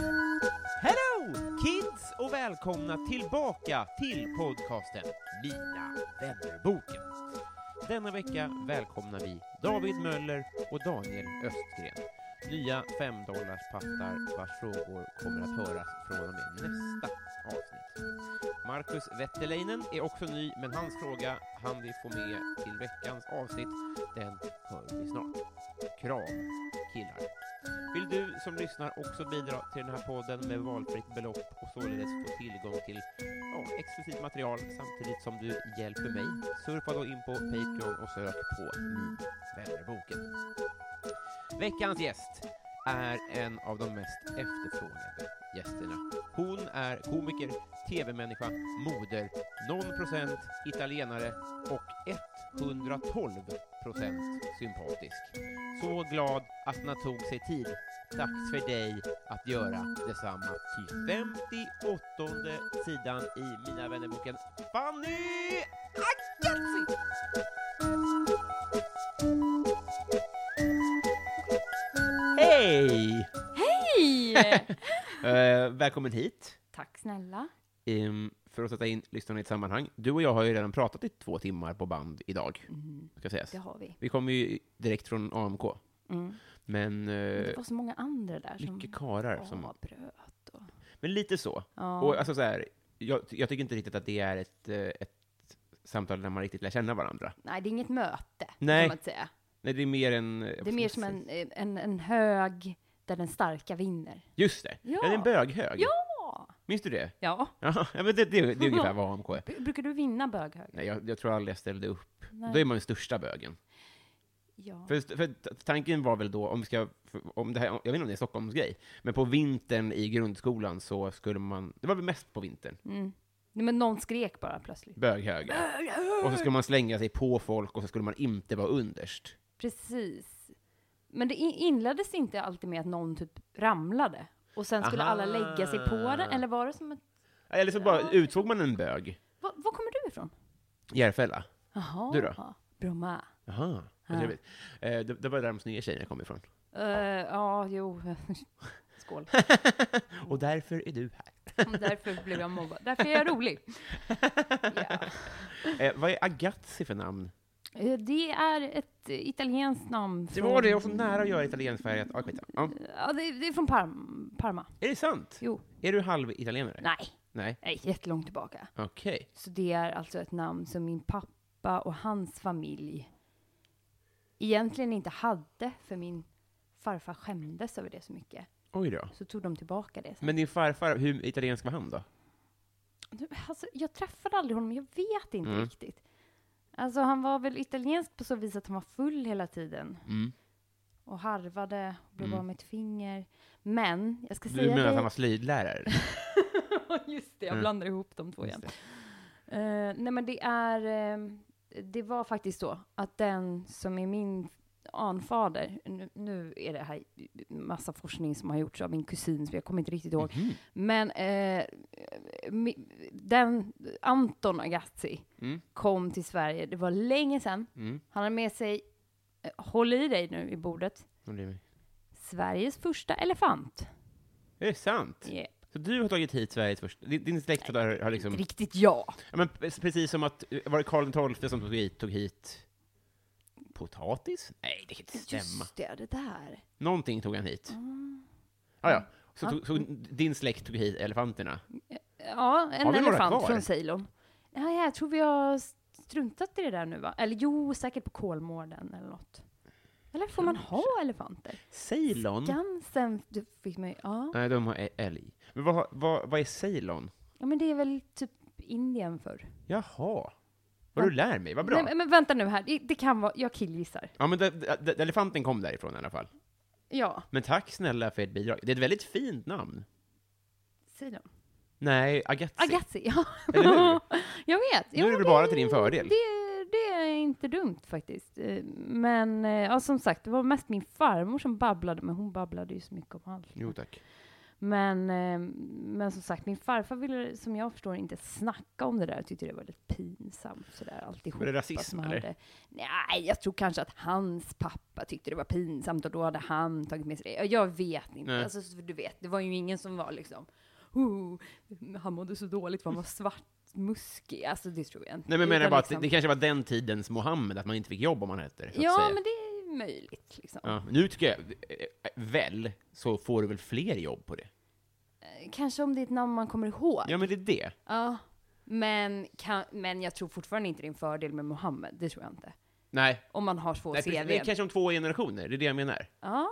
Hello kids och välkomna tillbaka till podcasten Mina vännerboken. Denna vecka välkomnar vi David Möller och Daniel Östgren. Nya 5 pattar vars frågor kommer att höras från och med nästa avsnitt. Marcus Wetterleinen är också ny, men hans fråga han vi få med till veckans avsnitt, den hör vi snart. Kram, killar. Vill du som lyssnar också bidra till den här podden med valfritt belopp och således få tillgång till ja, exklusivt material samtidigt som du hjälper mig? Surfa då in på Patreon och sök på Min vännerboken. Veckans gäst är en av de mest efterfrågade gästerna. Hon är komiker, tv-människa, moder, någon procent italienare och 112 procent sympatisk. Så glad att han tog sig tid. Dags för dig att göra detsamma. Till 58 sidan i Mina vännerboken Fanny Agassi! Hej! Hej! Eh, välkommen hit. Tack snälla. Ehm, för att sätta in lyssnarna i ett sammanhang. Du och jag har ju redan pratat i två timmar på band idag. Ska sägas. Mm-hmm. Det har vi. Vi kommer ju direkt från AMK. Mm. Men eh, Det var så många andra där som mycket karar som... avbröt. Och... Men lite så. Ja. Och alltså så här, jag, jag tycker inte riktigt att det är ett, eh, ett samtal där man riktigt lär känna varandra. Nej, det är inget möte. Nej. Kan man säga. Nej, det är mer en... eh, Det är mer som en, en, en hög där den starka vinner. Just det! Ja. Ja. Det är en böghög. Ja! Minns du det? Ja. Ja, men det, det, det är ungefär vad AMK är. B- Brukar du vinna böghög? Nej, jag, jag tror aldrig jag ställde upp. Nej. Då är man den största bögen. Ja. För, för t- tanken var väl då, om vi ska, om det här, jag vet inte om det är en Stockholmsgrej, men på vintern i grundskolan så skulle man, det var väl mest på vintern, Mm. Nej, men någon skrek bara plötsligt. böghöga. Och så skulle man slänga sig på folk och så skulle man inte vara underst. Precis. Men det in- inleddes inte alltid med att någon typ ramlade och sen skulle alla lägga sig på den, eller var det som ett... Eller så bara utsåg man en bög. Va, var kommer du ifrån? Järfälla. Jaha. Du då? Bromma. Jaha, vad trevligt. Eh, det, det var där de snygga tjejerna kom ifrån. Eh, ja, jo. Skål. Och därför är du här. Därför blev jag mobbad. Därför är jag rolig. Ja. Eh, vad är Agazzi för namn? Eh, Det är ett eh, italienskt namn. Det Från, var det, jag var så nära att göra italienfärgat. Ah, skitsamma. ja. Ja, det, det är från Parm, Parma. Är det sant? Jo. Är du halvitalienare? Nej, Nej. nej, jättelångt tillbaka. Okej. Så det är alltså ett namn som min pappa och hans familj egentligen inte hade, för min farfar skämdes över det så mycket. Oj då. Så tog de tillbaka det. sen. Men din farfar, hur italiensk var han då? Alltså, jag träffade aldrig honom, jag vet inte riktigt. Alltså, han var väl italiensk på så vis att han var full hela tiden. Och harvade, blev av med ett finger. Men, jag ska Du säga menar att dig... han var slöjdlärare? Just det, jag blandar ihop de två igen. Just Eh, nej, men det är... ehm, det var faktiskt så att den som är min anfader, nu, nu är det här massa forskning som har gjorts av min kusin, så jag kommer inte riktigt ihåg. Men eh, mi- den, Anton Agazzi kom till Sverige, det var länge sedan. Mm. Han hade med sig, eh, håll i dig nu i bordet, Om det är mig. Sveriges första elefant. Är det sant? Yeah. Så du har tagit hit Sveriges första... Din, din släkt har, har liksom... Riktigt ja. eh, Ja, men precis som att... Var det Karl XII som tog hit, tog hit potatis? Nej, det kan inte stämma. Just det, det där. Någonting tog han hit. Mm. Ah, ja. Så, Ja. tog, så din släkt tog hit elefanterna? Ja, en Har vi några elefant kvar? från Ceylon. Nej, jag tror vi har struntat i det där nu va? Eller jo, säkert på Kolmården eller något. Eller får man ha elefanter? Ceylon? Skansen du fick mig, ja. Nej, de har ä- älg. Men vad, har- vad, vad är Ceylon? ja. men det är väl typ Indien förr. Jaha. Vad du lär mig, vad bra. Nej, men vänta nu här, det, det kan vara, jag killgissar. Ja, men de, de, de, elefanten kom därifrån i alla fall. Ja, Men tack snälla för ert bidrag. Det är ett väldigt fint namn. Ceylon. Nej, Agatzi. Agassi, ja. Eller hur? Jag vet. Nu är det väl bara till din fördel. Det, det är inte dumt faktiskt. Eh, Men eh, ja, som sagt, det var mest min farmor som babblade, men hon babblade ju så mycket om allt. Jo tack. Men, eh, men som sagt, min farfar ville, som jag förstår inte snacka om det där. Jag tyckte det var lite pinsamt. Sådär, alltihop, Var det rasism, som han eller? hade- Nej, jag tror kanske att hans pappa tyckte det var pinsamt och då hade han tagit med sig det. Jag vet inte. Nej. Alltså, så- du vet, det var ju ingen som var liksom, oh, han mådde så dåligt för han var svartmuskig. Alltså det tror jag inte. Nej, men menar Utan jag bara att liksom- det, det kanske var den tidens Mohammed, att man inte fick jobb om man hette så att Ja, säga. men det är möjligt liksom. Ja, nu tycker jag, eh, väl, så får du väl fler jobb på det? Kanske om det är ett namn man kommer ihåg. Ja, men det är det. Ja. Men, kan, men jag tror fortfarande inte det är en fördel med Mohammed, det tror jag inte. Nej, Om man har två Nej precis, det är CV. kanske om två generationer, det är det jag menar. Ja,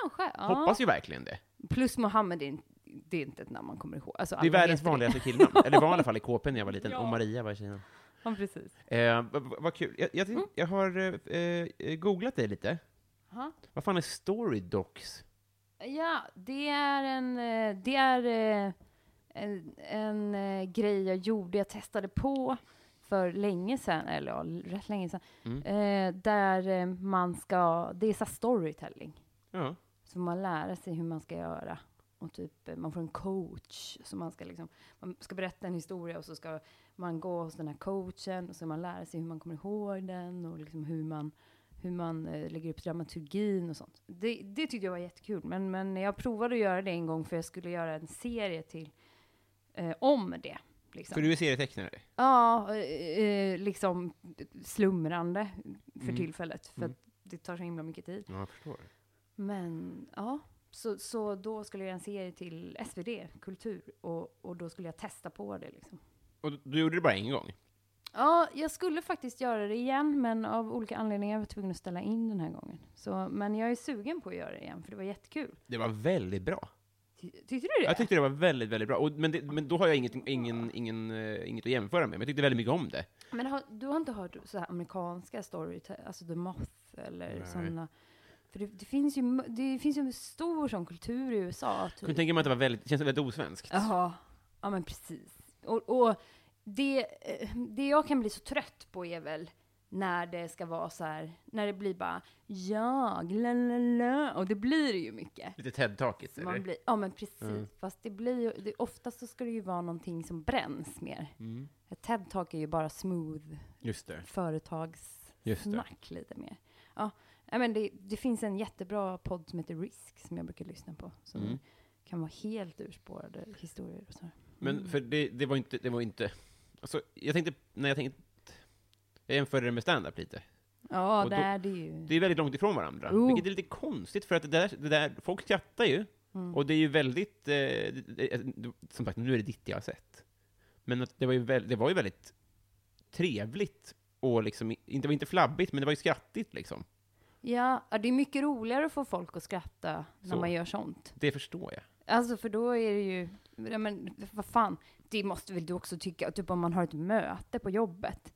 kanske. Ja. Hoppas ju verkligen det. Plus Mohammed, är, in- det är inte ett namn man kommer ihåg. Alltså, Det är alla världens heter det. vanligaste killnamn, eller var i alla fall i KP när jag var liten, Ja. och Maria var i Kina. Ja, precis. Eh, vad- vad vad kul. Jag, jag, Mm. jag har eh, eh, googlat dig lite. Jaha. Vad fan är Storydocs? Ja, det är en... eh, Det är eh, en, en eh, grej jag gjorde, jag testade på för länge sedan, eller ja, rätt länge sedan, Mm. eh, där eh, man ska... Det är så här storytelling. Ja. Så man lär sig hur man ska göra. Och typ, eh, man får en coach. Så man ska, liksom, man ska berätta en historia och så ska man gå hos den här coachen. Och så man lär sig hur man kommer ihåg den och liksom hur man, hur man eh, lägger upp dramaturgin och sånt. Det, det tyckte jag var jättekul. Men, men jag provade att göra det en gång för jag skulle göra en serie till eh, om det. Liksom. För du är serietecknare? Ja, eh, eh, liksom slumrande för Mm. tillfället. För Mm. att det tar så himla mycket tid. Ja, jag förstår. Men ja, så, så då skulle jag göra en serie till SvD, Kultur, och, och då skulle jag testa på det liksom. Och du- du gjorde det bara en gång? Ja, jag skulle faktiskt göra det igen, men av olika anledningar var jag tvungen att ställa in den här gången. Så, men jag är sugen på att göra det igen, för det var jättekul. Det var väldigt bra. Ty, tyckte du det? Jag tyckte det var väldigt, väldigt bra. Och, men, det, men då har jag inget, ingen, ingen, eh, inget att jämföra med, men jag tyckte väldigt mycket om det. Men har, du har inte hört så här amerikanska story, alltså The Moth eller Nej. sådana? För det, det, finns ju, m- det finns ju en stor sån kultur i USA. Jag typ. kunde tänka mig att det var väldigt, det känns väldigt osvenskt. Jaha, ja men precis. Och, och det, eh, det jag kan bli så trött på är väl när det ska vara så här, när det blir bara jag, la la la, och det blir det ju mycket. Lite TED-talkigt, eller? Man blir, ja men precis, Mm. fast det blir ju, det, oftast så ska det ju vara någonting som bränns mer. Mm. Ett TED-talk är ju bara smooth Just det. Just det. företagssnack lite mer. Ja, nej, men det, det finns en jättebra podd som heter Risk som jag brukar lyssna på, som Mm. kan vara helt urspårade historier och så. här. Mm. Men för det, det var inte, det var inte... Alltså, jag tänkte, när jag tänkte... Jag jämförde det med stand-up lite. Ja, Och det då- är det ju. Det är väldigt långt ifrån varandra, Oh. vilket är lite konstigt, för att det där, det där folk skrattar ju, Mm. och det är ju väldigt... Eh, det- det- som sagt, nu är det ditt jag har sett. Men att det var ju, väl, det var ju väldigt trevligt, och liksom, i- inte, det var inte flabbigt, men det var ju skrattigt liksom. Ja, ja, det är mycket roligare att få folk att skratta när Så. man gör sånt. Det förstår jag. Alltså, för då är det ju, ja, men vad fan, det måste väl du också tycka, typ om man har ett möte på jobbet.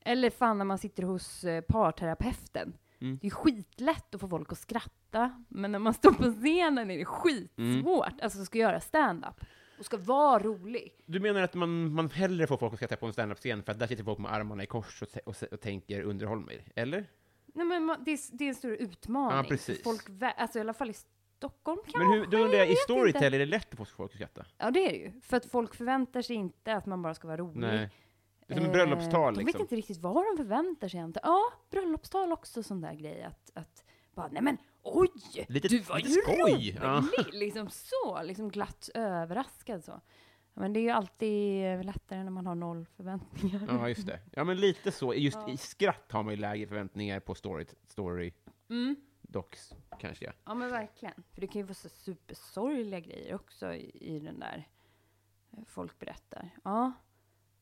Eller fan när man sitter hos eh, parterapeuten. Mm. Det är skitlätt att få folk att skratta, men när man står på scenen är det skitsvårt. Mm. Alltså, ska göra stand-up och ska vara rolig. Du menar att man, man hellre får folk att skratta på en stand-up-scen, för att där sitter folk med armarna i kors och, se- och, se- och tänker underhåll mig, eller? Nej, men man, det, är, s- det är en stor utmaning. Ja, precis. För Folk, vä- alltså i alla fall i Stockholm kanske. Men hur, då undrar jag, i vet inte. Storytel är det lätt att få folk att skratta? Ja, det är det ju. För att folk förväntar sig inte att man bara ska vara rolig. Nej. Det är som ett Eh, bröllopstal, De vet liksom. inte riktigt vad de förväntar sig egentligen. Ja, bröllopstal också sån där grej att, att bara, nej men oj, Lite- du var lite ju skoj, rolig! ja. Liksom så, liksom glatt överraskad så. Men det är ju alltid lättare när man har noll förväntningar. Ja, just det. Ja, men lite så. Just Ja. i skratt har man ju lägre förväntningar på story, story Mm. docs, kanske. Ja. Ja men verkligen. För det kan ju vara så supersorgliga grejer också i, i den där eh, folk berättar. Ja.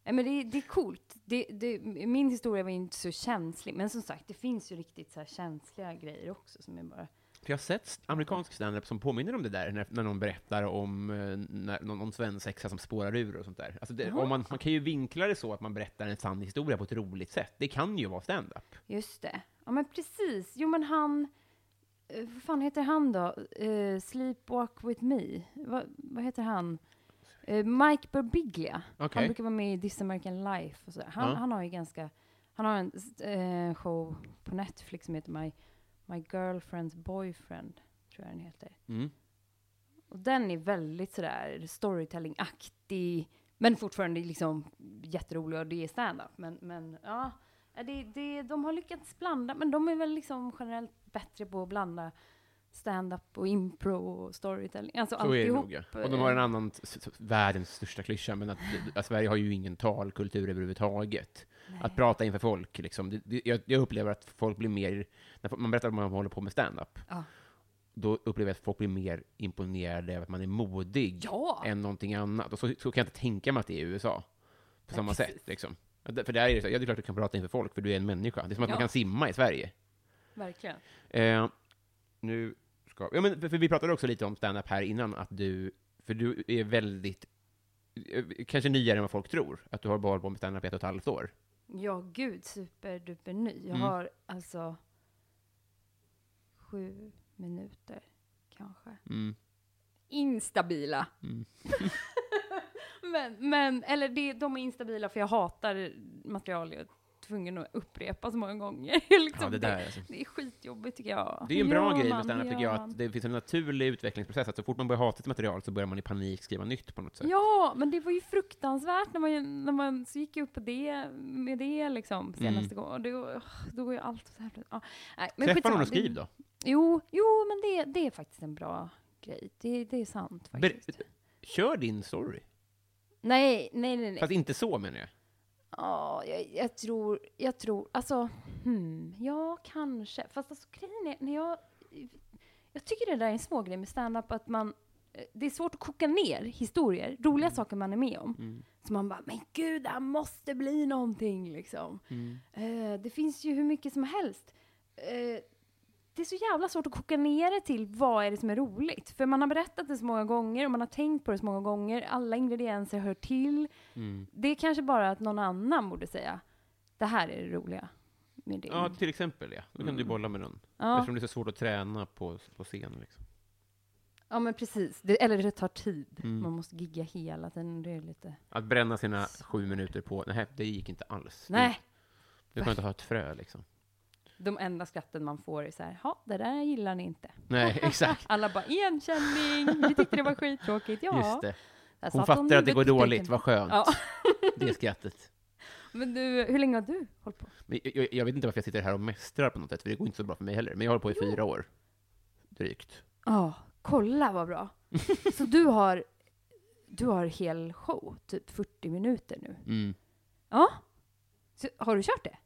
Nej, men det, det är coolt. Det, det, min historia var ju inte så känslig. Men som sagt, det finns ju riktigt så här känsliga grejer också som är bara... För jag har sett st- amerikansk standup som påminner om det där, när, när någon berättar om eh, när, någon, någon svensexa som spårar ur och sånt där. Alltså det, Jaha. om man, man kan ju vinkla det så att man berättar en sann historia på ett roligt sätt. Det kan ju vara standup. Just det. Ja men precis. Jo men han... eh, Vad fan heter han då? Eh, Sleepwalk with me. Va, vad heter han? Eh, Mike Birbiglia. Han Okej. brukar vara med i This American Life och så. Han, Ja. han har ju ganska, han har en s- eh, show på Netflix som heter My, My Girlfriend's Boyfriend, tror jag den heter. Mm. Och den är väldigt sådär storytelling-aktig, men fortfarande liksom jätterolig och det är stand-up. Men, men ja, Ja, det, det, de har lyckats blanda, men de är väl liksom generellt bättre på att blanda stand-up och impro och storytelling. Alltså Så är det alltihop. nog, ja. Och de har en annan, t- s- s- världens största klyscha, men att, att Sverige har ju ingen talkultur överhuvudtaget. Att prata inför folk, liksom. det, det, jag, jag upplever att folk blir mer, när man berättar om man håller på med stand-up, Ja. då upplever jag att folk blir mer imponerade över att man är modig Ja! än någonting annat. Och så, så kan jag inte tänka mig att det är i USA, på Nej, samma precis. sätt. Liksom. Att det- För där är det så, ja det är klart du kan prata inför folk, för du är en människa. Det är som att Ja. man kan simma i Sverige. Verkligen. Eh, nu ska... Ja, men för, för vi pratade också lite om stand-up här innan, att du... För du är väldigt... eh, Kanske nyare än vad folk tror, att du har bara hållit på med stand-up i ett och ett halvt år. Ja, gud, superduper ny. Jag Mm. har alltså sju minuter kanske. Mm. Instabila. Mm. men, men, eller det, de är instabila för jag hatar material jag är tvungen att upprepa så många gånger. liksom Ja, det, där, alltså. det är skitjobbigt tycker jag. det är ju en bra Ja, grej med man, stand-up, tycker ja, jag, man. att det finns en naturlig utvecklingsprocess. Att så fort man börjar hata ett material så börjar man i panik skriva nytt på något sätt. Ja, men det var ju fruktansvärt när man, när man så gick jag upp på det, med det Mm. liksom senaste gången. Och då, då går ju allt så här. Ja. Nej, men Träffa skitsamma. någon och Det- skriv då. Jo, jo men det, det är faktiskt en bra grej. Det, det är sant faktiskt. Ber- Kör din story. nej, nej, nej. nej. Fast inte så, menar jag. Ja, jag, jag tror, jag tror, alltså, hmm, ja kanske. Fast alltså grejen är, när jag, jag tycker det där är en små grej med stand-up att man, eh, det är svårt att koka ner historier, roliga saker man är med om. Så man bara, men gud, det här måste bli någonting liksom. Eh, det finns ju hur mycket som helst. Eh, det är så jävla svårt att koka ner det till vad är det som är roligt. För man har berättat det så många gånger och man har tänkt på det så många gånger. Alla ingredienser hör till. Det är kanske bara att någon annan borde säga, det här är det roliga med det. Ja, till exempel, ja. Då kan du bolla med den. Mm. ja. Eftersom det är så svårt att träna på, på scen, liksom. ja men precis. Det, eller det tar tid. Mm. Man måste gigga hela tiden. Det är lite... Att bränna sina sju minuter på, nej, det gick inte alls. Nej! Du kan inte ha ett frö liksom. De enda skratten man får är så här, ja, det där gillar ni inte. Nej, exakt. Alla bara, igenkänning, vi tyckte det var skittråkigt, ja. Just det. Där Hon satt hon fattar att det går huvudet i dåligt, tecken. vad skönt. Ja. Det skrattet. Men du, hur länge har du hållit på? Men jag- jag, jag vet inte varför jag sitter här och mästrar på något sätt, för det går inte så bra för mig heller. Men jag har hållit på i fyra år. Drygt. Ja, kolla vad bra. så du har, du har hel show, typ 40 minuter nu. Mm. Ja. Så, har du kört det?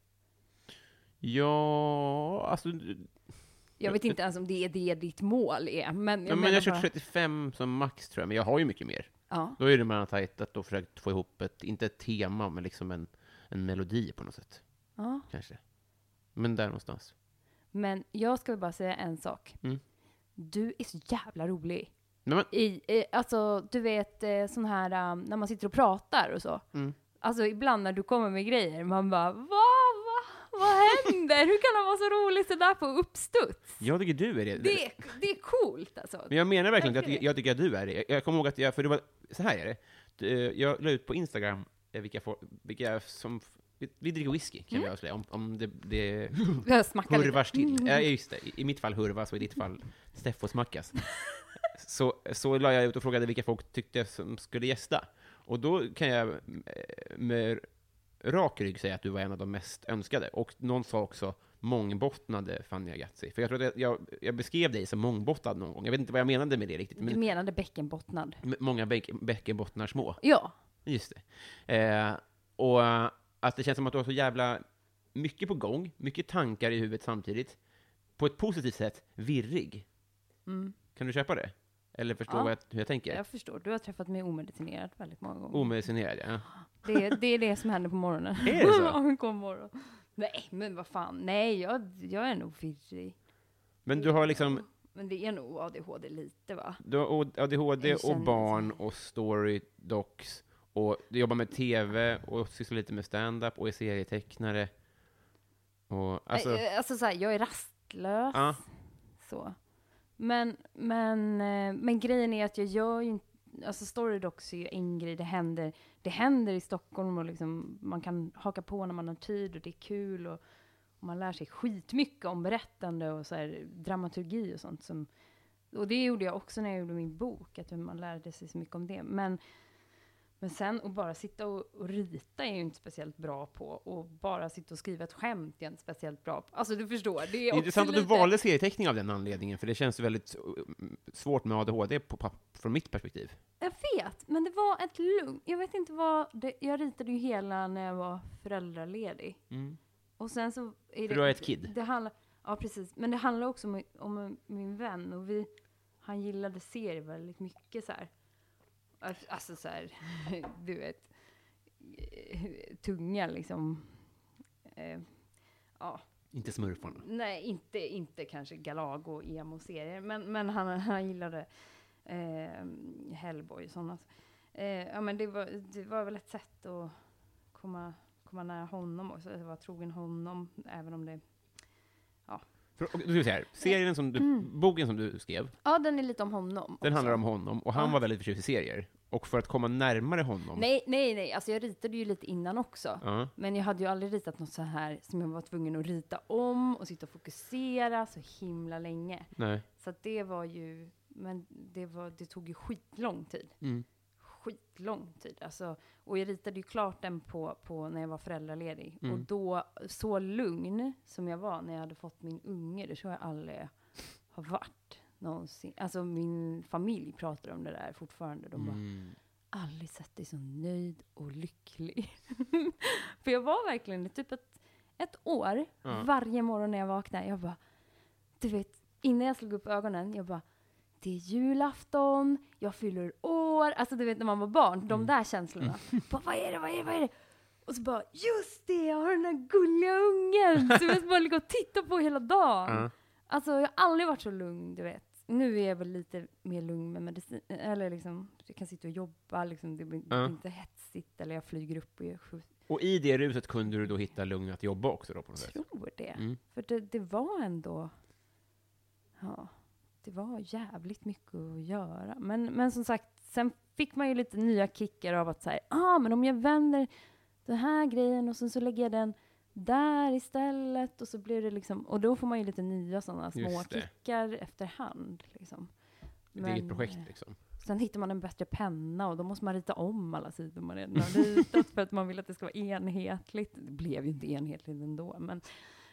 Ja, alltså... Jag vet inte ens om det är det ditt mål är, men jag Jag, men menar jag har kört bara- 35 som max tror jag, men jag har ju mycket mer. Ja, Då är det man har tajtat och försökt få ihop ett, inte ett tema, men liksom en, en melodi på något sätt. ja. Kanske. Men där någonstans. Men jag ska bara säga en sak. Mm. Du är så jävla rolig. Nej, men, i, i alltså du vet eh, sån här um, när man sitter och pratar och så. Mm. Alltså ibland när du kommer med grejer, man bara va, va, vad händer? Hur kan han vara så rolig sådär på uppstuds? jag tycker du är det. Det, är- det är coolt alltså. Men jag menar verkligen att Verkligen. jag, jag tycker att du är det. Jag, jag kommer ihåg att jag, för det var, så här är det. Du, eh, Jag la ut på Instagram eh, vilka, fo- vilka som, vi, vi dricker whisky kan vi avslöja, om, om det, det Jag smackar lite. hurvars till. Ja, just det. I, I mitt fall hurvas och i ditt fall Steffosmackas. Så, så la jag ut och frågade vilka folk tyckte som skulle gästa. Och då kan jag eh, med rak rygg säga att du var en av de mest önskade. Och någon sa också mångbottnade Fanny Agazzi. För jag tror att jag, jag, jag beskrev dig som mångbottnad någon gång. Jag vet inte vad jag menade med det riktigt. Du Men menade bäckenbottnad? m- många bäck, bäckenbottnar små. Ja. Just det. Eh, och eh, att det känns som att du har så jävla mycket på gång, mycket tankar i huvudet samtidigt. På ett positivt sätt, virrig. Mm. Kan du köpa det? Eller förstå Ja. vad jag, hur jag tänker? Jag förstår. Du har träffat mig omedicinerat väldigt många gånger. Omedicinerad, ja. Det, det är det som händer på morgonen. Är det så? Ja, men god morgon. Nej, men vad fan. Nej, jag, jag är nog virrig. Men du har liksom Men det är nog ADHD lite, va? du har ADHD Jag känner och barn och story docs och du jobbar med tv och sysslar lite med stand-up och är serietecknare. Och, alltså, Alltså, alltså så här, jag är rastlös. ja, Så. Men, men, eh, men grejen är att jag gör ju inte Alltså Storydocs är ju en grej, det händer, det händer i Stockholm och liksom, man kan haka på när man har tid och det är kul och, och man lär sig skitmycket om berättande och så här, dramaturgi och sånt. Som, och det gjorde jag också när jag gjorde min bok, att man lärde sig så mycket om det. Men, men sen att bara sitta och, och rita är jag ju inte speciellt bra på och bara sitta och skriva ett skämt är jag inte speciellt bra på. Alltså du förstår, det det är är också intressant att du lite... valde serieteckning av den anledningen, för det känns väldigt mm, svårt med ADHD på, papp- från mitt perspektiv. Jag vet, men det var ett lugn. Jag vet inte vad det, Jag ritade ju hela när jag var föräldraledig. Och sen så... Är Mm. För du har ett kid. Det handlar, ja, precis. Men det handlar också om, om min vän. Och vi, han gillade serier väldigt mycket så här. Alltså så här, du vet. eh, Tunga liksom. Eh, ja. Inte smurfarna. Nej, inte, inte kanske Galago, emo-serier, men, men han, han gillade eh, Hellboy och sådana. Eh, ja, men det var, det var väl ett sätt att komma, komma nära honom och så vara trogen honom, även om det... För, och, du säger, serien som du, boken som du skrev, Ja, den är lite om honom. den Mm. också. handlar om honom, och han Ja. var väldigt förtjust i serier. Och för att komma närmare honom... Nej, nej, nej, alltså jag ritade ju lite innan också. Ja. Men jag hade ju aldrig ritat något så här som jag var tvungen att rita om och sitta och fokusera så himla länge. nej. Så att det var ju, men det, var, det tog ju skitlång tid. Mm. Skitlång tid. Alltså, och jag ritade ju klart den på, på när jag var föräldraledig. Och Mm. då, så lugn som jag var när jag hade fått min unge, det tror jag aldrig har varit någonsin. Alltså min familj pratar om det där fortfarande. De bara, Mm. aldrig sett dig så nöjd och lycklig. För jag var verkligen i typ ett, ett år, Ja. varje morgon när jag vaknade, jag bara, du vet, innan jag slog upp ögonen, jag bara, det är julafton, jag fyller år, alltså du vet när man var barn, Mm. de där känslorna. Bara, vad är det, vad är det, vad är det? Och så bara, just det, jag har den där gulliga ungen som jag bara ligger och tittar på hela dagen. Ja. Alltså jag har aldrig varit så lugn, du vet. Nu är jag väl lite mer lugn med medicin, eller liksom, jag kan sitta och jobba, liksom, det blir det blir Ja. inte hetsigt, eller jag flyger upp och jag skjut- Och i det ruset kunde du då hitta lugn att jobba också då på något sätt? tror det. Mm. För det, det var ändå, ja, det var jävligt mycket att göra. Men, men som sagt, sen fick man ju lite nya kickar av att säga, ah, men om jag vänder den här grejen och sen så lägger jag den där istället och så blir det liksom, och då får man ju lite nya sådana små Just det. kickar efterhand liksom. Ett eget Men, projekt eh, liksom? Sen hittar man en bättre penna och då måste man rita om alla sidor man redan har ritat för att man vill att det ska vara enhetligt. Det blev ju inte enhetligt ändå, men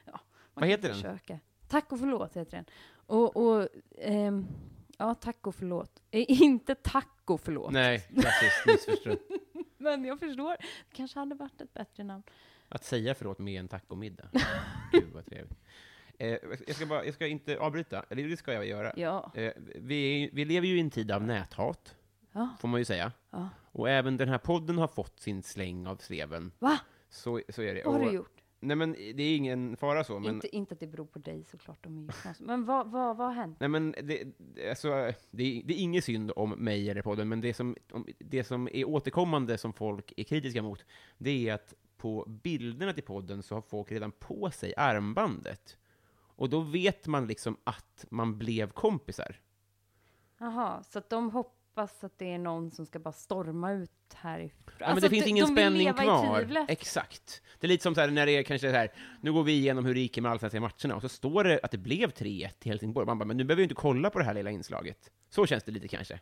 ja. Man Vad kan heter den? försöka. Tack och förlåt heter den. Och, och ehm, ja, tack och förlåt. Eh, inte tack och förlåt, Nej, klassiskt missförstånd. men jag förstår. Det kanske hade varit ett bättre namn. Att säga förlåt med en tacomiddag. Gud vad trevligt. Eh, jag, ska bara, jag ska inte avbryta, eller det ska jag göra. Ja. Eh, vi, vi lever ju i en tid av näthat, Ja. får man ju säga. Ja. Och även den här podden har fått sin släng av sleven. Va? Så, så är det. Vad har Och- du gjort? Nej men det är ingen fara så, men... Inte, inte att det beror på dig såklart, de är ju knas- Men vad, vad, vad har hänt? Nej men det, det- alltså, det, är- det är inget synd om mig eller podden, men det som, om- det som är återkommande som folk är kritiska mot, det är att på bilderna till podden så har folk redan på sig armbandet. Och då vet man liksom att man blev kompisar. Jaha, så att de hoppas att det är någon som ska bara storma ut härifrån? ja, men det finns Alltså, de- ingen de vill spänning leva i kvar. tvivlet. Exakt. Det är lite som så här, när det är kanske så här, nu går vi igenom hur det gick i de allsvenska matcherna, och så står det att det blev 3-1 till Helsingborg. Man bara, men nu behöver vi inte kolla på det här lilla inslaget. Så känns det lite kanske.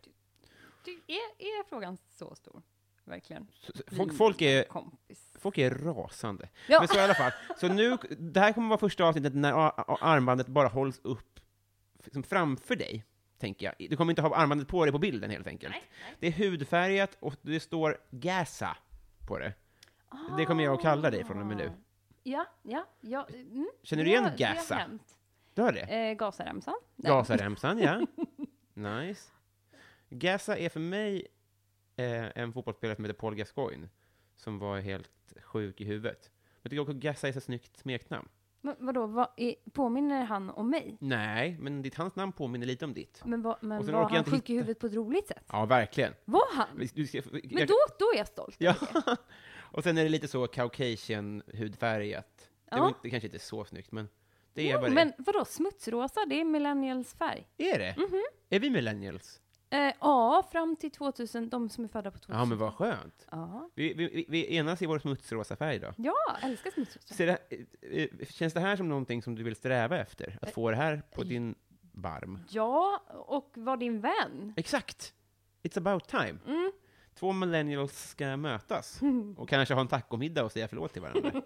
Du, är, är frågan så stor? verkligen. Så- Folk, folk, är, Kompis. folk är rasande. Mm. Ja. Men så i alla fall. Så nu, det här kommer vara första avsnittet när a- a- armbandet bara hålls upp liksom framför dig, tänker jag. Du kommer inte ha armbandet på dig på bilden helt enkelt. Det är hudfärgat och det står Gaza på det. Det kommer jag att kalla dig från och med nu. Ah. Ja, ja, ja. Mm. Känner du igen Ja, det har Gaza? hänt. Du hör det? Eh, Gazaremsan. Nej. Gazaremsan, ja. Nice. Gaza är för mig eh, en fotbollsspelare som heter Paul Gascoigne, som var helt sjuk i huvudet. Men jag tycker också att Gaza är så snyggt smeknamn. Men vadå, vad är, påminner han om mig? Nej, men ditt, hans namn påminner lite om ditt. Men, va, men Och sen var orkar jag han inte sjuk i hitta- huvudet på ett roligt sätt? Ja, verkligen. Var han? Du ska, Men jag, då, då är jag stolt. Ja. Och sen är det lite så Caucasian-hudfärgat. Det, var Ja. inte- det kanske inte är så snyggt, men det är Jo, vad det men vadå, smutsrosa, det är millennials färg. är. det? Är vi millennials? Eh, ja, fram till 2000, de som är födda på 2000. Ja, men vad skönt. Ja, Vi, vi, vi- vi enas i vår smutsrosa färg då. ja älskar smutsrosa. Ser det, eh, eh, känns det här som någonting som du vill sträva efter? Eh, Att få det här på din barm? Ja, och var din vän. Exakt! It's about time. Mm. Två millennials ska mötas och kanske ha en tacomiddag och säga förlåt till varandra.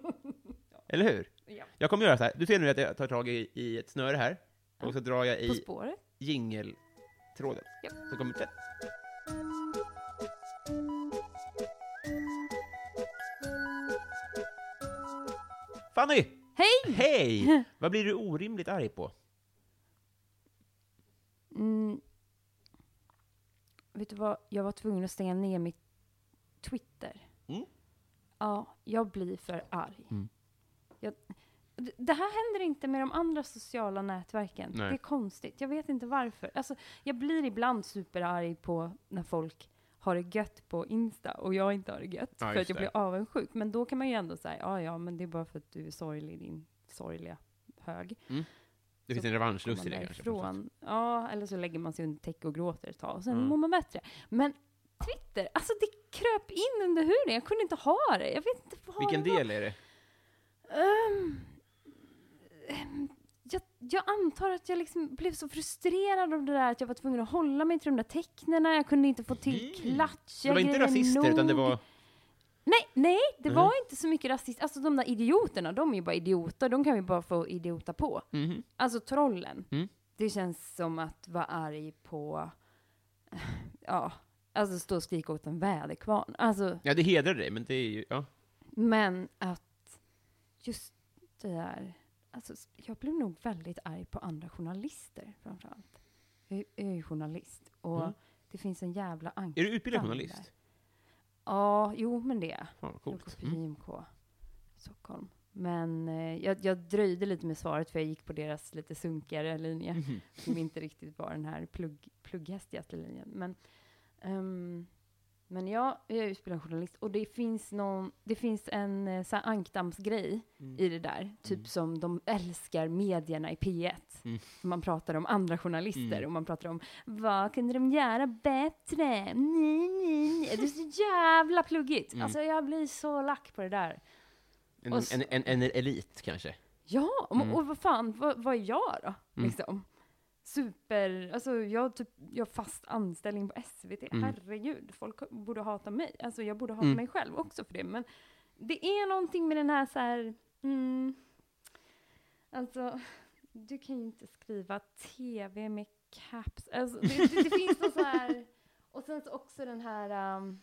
Eller hur? Ja. Jag kommer göra så här. Du ser nu att jag tar tag i, i ett snöre här och så drar jag På i spåret. jingeltråden. Japp. Så kommer det. Fanny! Hej! Hej! Vad blir du orimligt arg på? Mm. Vet du vad, jag var tvungen att stänga ner mitt Twitter. Mm. Ja, jag blir för arg. Jag, d- det här händer inte med de andra sociala nätverken. Nej. Det är konstigt. Jag vet inte varför. Alltså, jag blir ibland superarg på när folk har det gött på Insta och jag inte har det gött. Ja, för just att jag det. blir avundsjuk. Men då kan man ju ändå säga, ja ja, men det är bara för att du är sorglig, din sorgliga hög Det Så finns en revanschlust i man det kanske. på något sätt. därifrån. Ja, eller så lägger man sig under täcke och gråter ett tag och sen Mm. mår man bättre. Men Twitter, alltså det kröp in under huden. Jag kunde inte ha det. Jag vet inte vad Vilken det var. del är det? Ehm, ehm, jag, jag antar att jag liksom blev så frustrerad av det där att jag var tvungen att hålla mig till de där tecknena. Jag kunde inte få till Mm. klatsch. Det var inte rasister, utan det var... Nej, nej, det Mhm. var inte så mycket rasist. Alltså de där idioterna, de är ju bara idioter. De kan vi bara få idiota på. Mhm. Alltså trollen. Mm. Det känns som att vara arg på, ja, alltså stå och skrika åt en väderkvarn. Alltså, Ja, det hedrar dig, men det är ju... Ja. men att just det där, alltså jag blev nog väldigt arg på andra journalister framförallt. Jag är- jag är ju journalist och Mm. det finns en jävla anka. Är du utbildad Fan, journalist? Ja, jo men det är jag. Fan, vad Jag går coolt. på Mm. JMK Stockholm. Men eh, jag, jag dröjde lite med svaret för jag gick på deras lite sunkigare linje. Mhm. Som inte riktigt var den här plugg, plugghästigaste linjen. Men, ehm, men ja, jag är utbildad journalist. Och det finns, någon, det finns en eh, så här ankdammsgrej Mm. i det där. Typ som de älskar medierna i P1. Mm. Man pratar om andra journalister Mm. och man pratar om vad kunde de göra bättre? Ni, ni, ni. Det är så jävla pluggigt. Mm. Alltså jag blir så lack på det där. En, Och så- en, en, en elit, kanske? Ja, och- Mm. och vad fan, vad, vad är jag då? Mm. Liksom. Super, alltså jag har typ, jag har fast anställning på SVT. Mm. Herregud, folk borde hata mig. Alltså jag borde hata Mm. mig själv också för det. Men det är någonting med den här så här, mm, alltså du kan ju inte skriva TV med caps. Alltså, det, det, det finns någon så här, och sen så också den här um,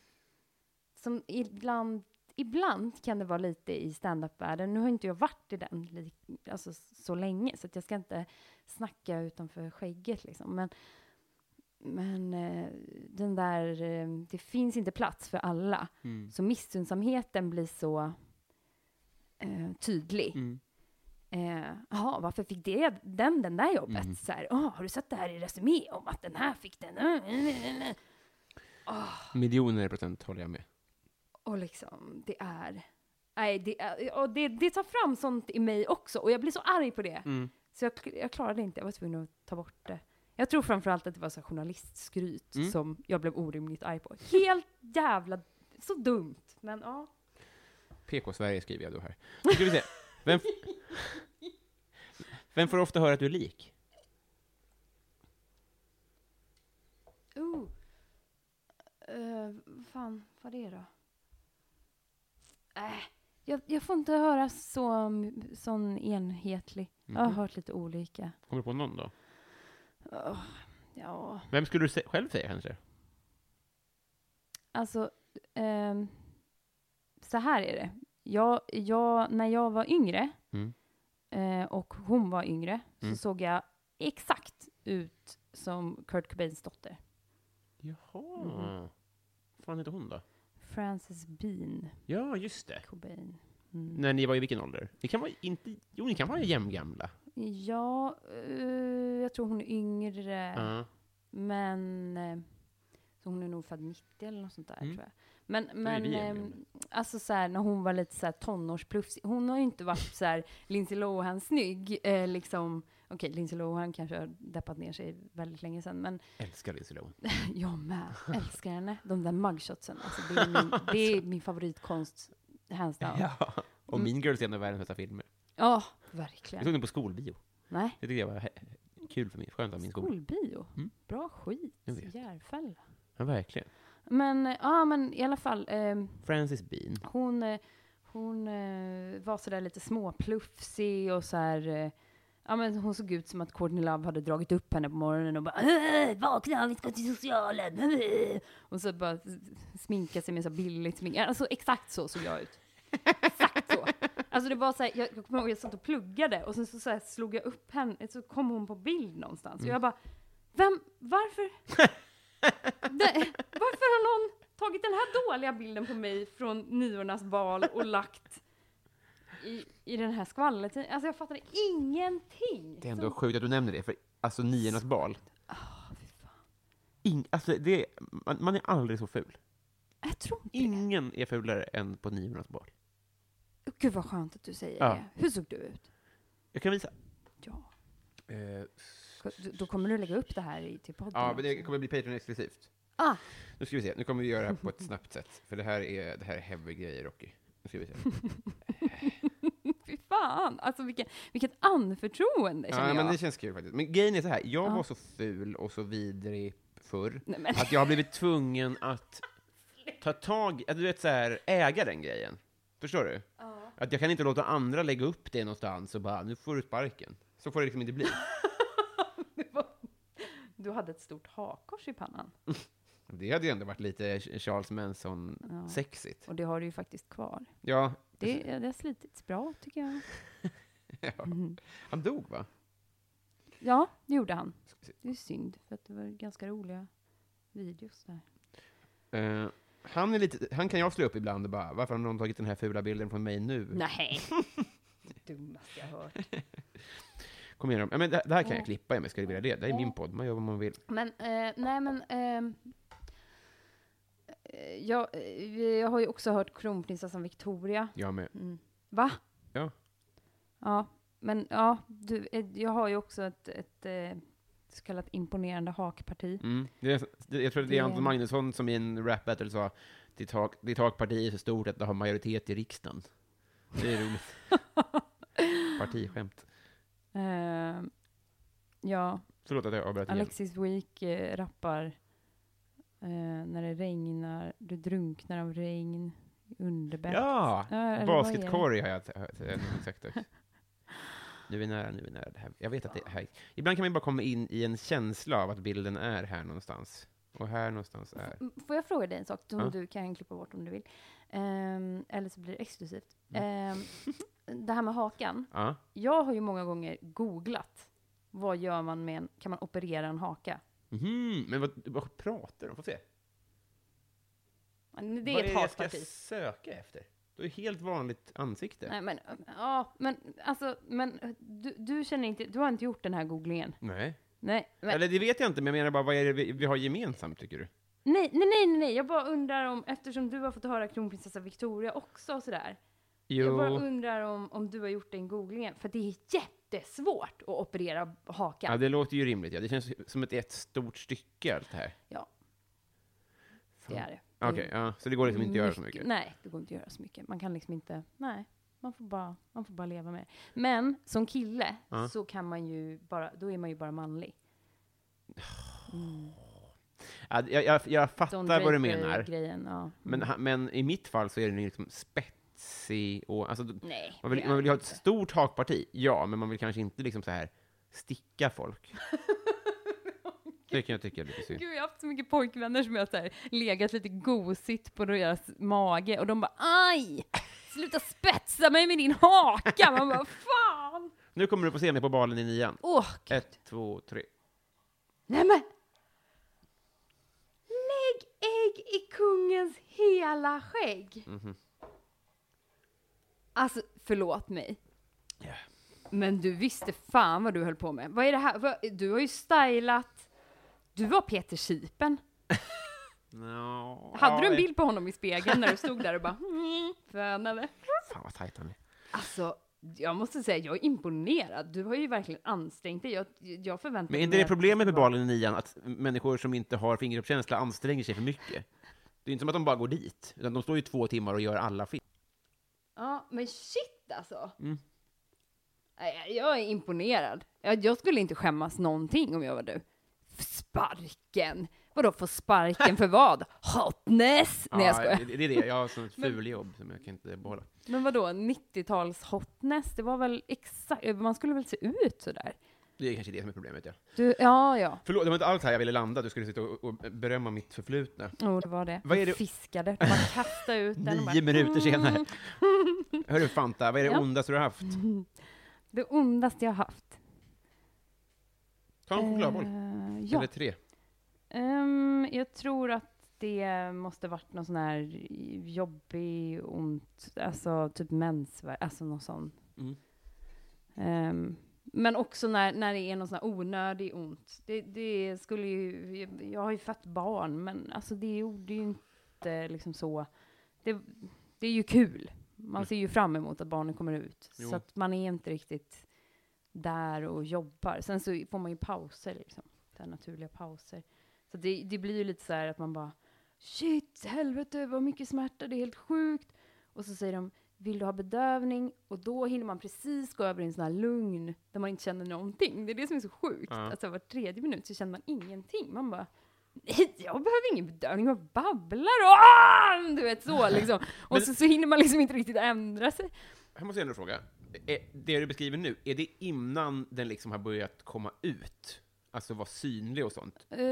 som ibland Ibland kan det vara lite i standup-världen. Nu har inte jag varit i den li- alltså, s- så länge, så att jag ska inte snacka utanför skägget. Liksom. Men, men eh, den där, eh, det finns inte plats för alla. Mm. Så missunnsamheten blir så eh, tydlig. Mm. Eh, Jaha, varför fick det, den den där jobbet? Mm. Så här, "Åh, har du sett det här i Resumé om att den här fick den? Mm, mm, mm, mm." Miljoner procent håller jag med. Och liksom, det är... Nej, det, är- och det, det tar fram sånt i mig också. Och jag blir så arg på det. Mm. Så jag, jag klarade det inte, jag var tvungen att ta bort det. Jag tror framförallt att det var så här journalistskryt Mm. som jag blev orimligt arg på. Helt jävla... Så dumt. Men ja. PK-Sverige skriver jag då här. Nu ska vi se. Vem, vem får ofta höra att du är lik? Uh. Eh, fan, vad är det då? Äh, jag, jag får inte höra så, sån enhetlig. Jag har Mhm. hört lite olika. Kommer du på någon då? Åh, ja, Vem skulle du se- själv säga kanske? alltså. ehm, så här är det. Jag, jag, när jag var yngre Mm. eh, och hon var yngre Mm. så såg jag exakt ut som Kurt Cobains dotter. Jaha. Mhm. Mm. fan heter hon då? Frances Bean Ja, just det. Cobain. Mm. När ni var i vilken ålder? Ni kan vara inte... Jo, ni kan vara jämngamla. Ja, eh, jag tror hon är yngre. Ja. Men eh, så hon är nog född 90 eller något sånt där Mm. tror jag. Men, men vi eh, jämngamla. alltså så här, när hon var lite så här tonårsplufsig. Hon har ju inte varit så här Lindsay Lohan snygg. Eh, liksom, okej, Lindsay Lohan kanske har deppat ner sig väldigt länge sedan. Men Älskar Lindsay Lohan. jag med, älskar henne. De där mugshotsen, alltså, det, är min, det är min favoritkonst. Hands down. Ja, Ja. Och Mm. Mean Girls är en av världens bästa filmer. Jag verkligen. såg den på skolbio. Nej. Det tyckte jag var he- kul för mig. Skönt av min skola. Skolbio. Mm. Bra skit. Jag vet. Järfälla. Ja, verkligen. Men, eh, ja men i alla fall. ehm, Frances Bean. Hon, eh, hon eh, var sådär lite småplufsig och så här. eh, Ja, men hon såg ut som att Courtney Love hade dragit upp henne på morgonen och bara "Äh, “Vakna, vi ska till socialen!” äh." Och så bara s- sminka sig med så här billigt smink. Alltså exakt så såg jag ut. Exakt så. Alltså det var så här, jag jag kommer ihåg jag satt och pluggade och sen så, så här slog jag upp henne, så kom hon på bild någonstans. Mm. Och jag bara, vem, varför? Det, varför har någon tagit den här dåliga bilden på mig från niornas bal och lagt i, i den här skvallertidningen? Alltså jag fattar ingenting. Det är ändå sjukt att du nämner det, för alltså niornas bal. Ing, alltså, det, man, man är aldrig så ful. jag tror inte det. Ingen är fulare än på niornas bal. Åh, Gud vad skönt att du säger Ja. det. Hur såg du ut? Jag kan visa. Ja. Eh, Då- Då kommer du lägga upp det här i, till podden ja, men det också. kommer bli Patreon-exklusivt. Ah, Nu ska vi se, nu kommer vi göra det här på ett snabbt sätt. För det här är, det här är heavy grejer, Rocky. Nu ska vi se. fy fan! Alltså vilken, vilket anförtroende känner Ja, men jag. det känns kul faktiskt. Men grejen är så här, jag Ja. var så ful och så vidrig förr Nej, men, att jag har blivit tvungen att ta tag att du vet så här, äga den grejen. Förstår du? Att jag kan inte låta andra lägga upp det någonstans och bara, nu får du sparken. Så får det liksom inte bli. du hade ett stort hakkors i pannan. Det hade ju ändå varit lite Charles Manson-sexigt. Och det har du ju faktiskt kvar. Ja. Det, det har slitits bra tycker jag. Mhm. ja. Han dog, va? Ja, det gjorde han. Ska vi se. Det är synd, för att det var ganska roliga videos där. Eh, han, är lite, han kan jag slå upp ibland och bara, varför har någon tagit den här fula bilden från mig nu? Nej. Dummaste jag hört. Kom igen, ja, men det, det här kan Ja. jag klippa om jag skulle vilja det. Det här är min podd, man gör vad man vill. Men, eh, nej men. ehm, Eh, jag, eh, jag har ju också hört kronprinsessan Victoria. Jag med. Mm. Va? Ja. Ja, men ja, du, eh, jag har ju också ett, ett eh, så kallat imponerande hakparti. Mm. Det är, det, jag tror det är Det- Anton Magnusson som i en rap battle sa, ditt, hak, ditt hakparti är så stort att det har majoritet i riksdagen. Det är roligt. Partiskämt. Eh, ja, Förlåt att jag avbröt igen. Alexis Week eh, rappar eh, när det regnar, du drunknar av regn, underbett. Ja! eller vad är det? Basketkorg har jag t- har jag t- sagt också. Nu är vi nära, nu är vi nära. Det här. Jag vet att det här. Ibland kan man bara komma in i en känsla av att bilden är här någonstans. Och här någonstans är. M- Mm, Får jag fråga dig en sak som Ja. du kan klippa bort om du vill? Ehm, eller så blir det exklusivt. Mm. Ehm, det här med hakan. Ja. Jag har ju många gånger googlat. Vad gör man med en, kan man operera en haka? Mhm, Men vad, vad pratar de? Får se. Men Det Vad är ett jag ska hakparti. söka efter? Du är helt vanligt ansikte. Nej men, ja, men alltså, men du, du känner inte, du har inte gjort den här googlingen? Nej. Nej, men, Eller det vet jag inte, men jag menar bara, vad är det vi, vi har gemensamt, tycker du? Nej, nej, nej, nej, nej, jag bara undrar om, eftersom du har fått höra kronprinsessa Victoria också och sådär. Jag bara undrar om, om du har gjort den googlingen, för det är jättesvårt att operera Ja, hakan. det låter ju rimligt. Ja. Det känns som ett, ett stort stycke, allt det här. Ja. Fan. Det är det. Okej, ja, så det går liksom inte att göra så mycket. Nej, det går inte att göra så mycket. Man kan liksom inte, nej, man får bara, man får bara leva med det. Men som kille Ja. så kan man ju bara, då är man ju bara manlig. Ja, jag, jag, jag Don fattar vad du Draper menar. Grejen, ja. Mm. Men, ha- men i mitt fall så är den ju liksom spetsig och... Alltså, d- Nej, man, vill, det man är vill ju ha ett inte. stort hakparti, ja, men man vill kanske inte liksom så här sticka folk. det kan jag tycka är lite synd. Gud, jag har haft så mycket pojkvänner som jag har så här legat lite gosigt på deras mage och de bara aj! Sluta spetsa mig med din haka! Man bara fan! Nu kommer du få se mig på balen i nian. Åh, gud. Ett, två, tre. nej men! Lägg ägg i kungens hela skägg! Mhm. Alltså, förlåt mig. Ja. Men du visste fan vad du höll på med. Vad är det här? Vad- Du har ju stylat... Du var Peter Sipen. No. Hade du en bild på honom i spegeln när du stod där och bara mm, fönade? Fan vad tajt han är. Alltså, jag måste säga, jag är imponerad. Du har ju verkligen ansträngt dig. Jag, jag Men förväntar mig... är inte det att- problemet med balen i nian, att människor som inte har fingeruppkänsla anstränger sig för mycket? Det är inte som att de bara går dit, utan de står ju två timmar och gör alla film. Ja, men shit alltså. Mm. Nej, Jag är imponerad. Jag, jag skulle inte skämmas någonting om jag var du. Sparken! Vadå få sparken för vad? Hotness! Nej, jag skojar. det, det är det, jag har sånt fuljobb som jag kan inte behålla. Men vadå, 90-tals hotness? Det var väl exakt... Man skulle väl se ut sådär? Det är kanske det som är problemet, ja. Du, ja, ja. Förlåt, det var inte alls här jag ville landa, du skulle sitta och, och berömma mitt förflutna. Jo, det var det. Vad är Vi det- Fiskade. Man kastade ut den. och Nio minuter senare. Hörru Fanta, vad är det Ja. ondaste du har haft? Det ondaste jag haft. Ta en chokladboll. Eh, ja. Eller tre. Ehm, jag tror att det måste varit någon sån här jobbig, ont, alltså typ mensvärk, alltså någon sån. Mm. Ehm, men också när, när det är någon sån här onödig ont. Det, det skulle ju, jag har ju fött barn, men alltså det gjorde ju inte liksom så. Det, det är ju kul. Man ser ju fram emot att barnen kommer ut. Jo. Så att man är inte riktigt där och jobbar. Sen så får man ju pauser liksom. Så här naturliga pauser. Så det, det blir ju lite så här att man bara shit, helvete vad mycket smärta, det är helt sjukt. Och så säger de vill du ha bedövning? Och då hinner man precis gå över i en sån här lugn där man inte känner någonting. Det är det som är så sjukt. Ja. Alltså var tredje minut så känner man ingenting. Man bara Nej, jag behöver ingen bedövning, jag babblar och ah! du vet så liksom. Och Men- så, så hinner man liksom inte riktigt ändra sig. Här måste jag ändå fråga. Är- Det du beskriver nu, är det innan den liksom har börjat komma ut? Alltså vara synlig och sånt? Eh,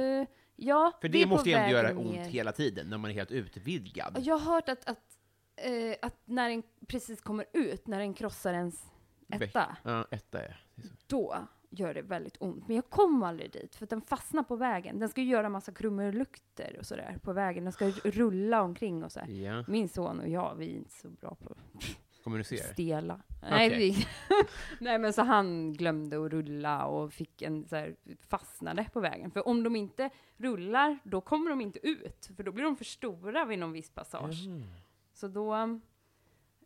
ja, För vi det är på måste ju ändå väg göra ner. ont hela tiden, när man är helt utvidgad. Och Jag har hört att, att, eh, att när den precis kommer ut, när den krossar ens etta, Ja, etta, ja. Det är så. då gör det väldigt ont. Men jag kom aldrig dit, för att den fastnar på vägen. Den ska ju göra massa krumelukter och sådär på vägen. Den ska ju rulla omkring och sådär. Ja, Min son och jag, vi är inte så bra på kommunicera. Stela. Nej, Okej. vi, nej, men så han glömde att rulla och fick en så här, fastnade på vägen. För om de inte rullar, då kommer de inte ut. För då blir de för stora vid någon viss passage. Mm. Så då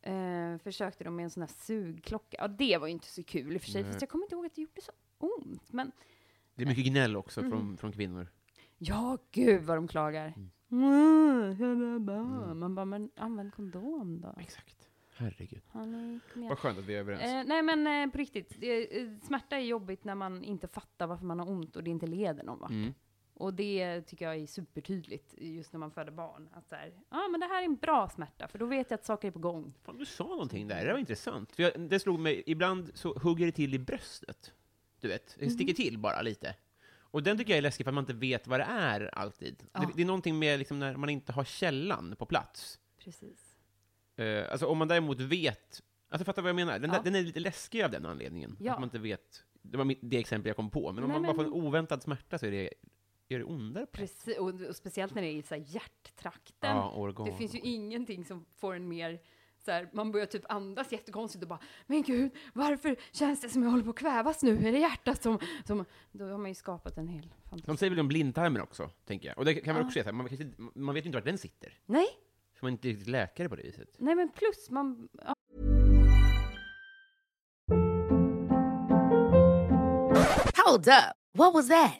eh, försökte de med en sån här sugklocka. Ja, det var ju inte så kul i och för sig. Nej. Fast jag kommer inte ihåg att det gjorde så ont. Men Det är mycket gnäll också Mm. från, från kvinnor. ja, gud vad de klagar. Mm. Man bara, men använd kondom då. Exakt. Herregud. Honey, kom igen. Vad skönt att vi är överens. Eh, nej men eh, på riktigt, det, eh, smärta är jobbigt när man inte fattar varför man har ont och det inte leder någon vart. Mm. Och det tycker jag är supertydligt just när man föder barn. Att så här, ja men det här är en bra smärta för då vet jag att saker är på gång. Fan, du sa någonting där, det var intressant. För jag, det slog mig, ibland så hugger det till i bröstet. Du vet, det Mm. sticker till bara lite. Och den tycker jag är läskig för att man inte vet vad det är alltid. Ja. Det, det är någonting med liksom när man inte har källan på plats. Precis. Eh, alltså om man däremot vet, alltså fattar vad jag menar? Den, Ja. där, den är lite läskig av den anledningen. Ja. Att man inte vet, det var mitt, det exempel jag kom på, men om Nej, man bara får men- en oväntad smärta så är det, är det ondare på ett sätt. Precis. Och, och speciellt när det är i så här hjärttrakten. Ja, organ. Det finns ju ingenting som får en mer så här, man börjar typ andas jättekonstigt och bara Men gud, varför känns det som jag håller på att kvävas nu? Är det hjärtat som... som... Då har man ju skapat en hel fantasi. De säger väl om blindtarmen också, tänker jag. Och det kan man också säga, så här, man, kanske inte- man vet ju inte vart den sitter. Nej, För man är inte riktigt läkare på det viset. nej men plus man... Ja, Hold up. What was that?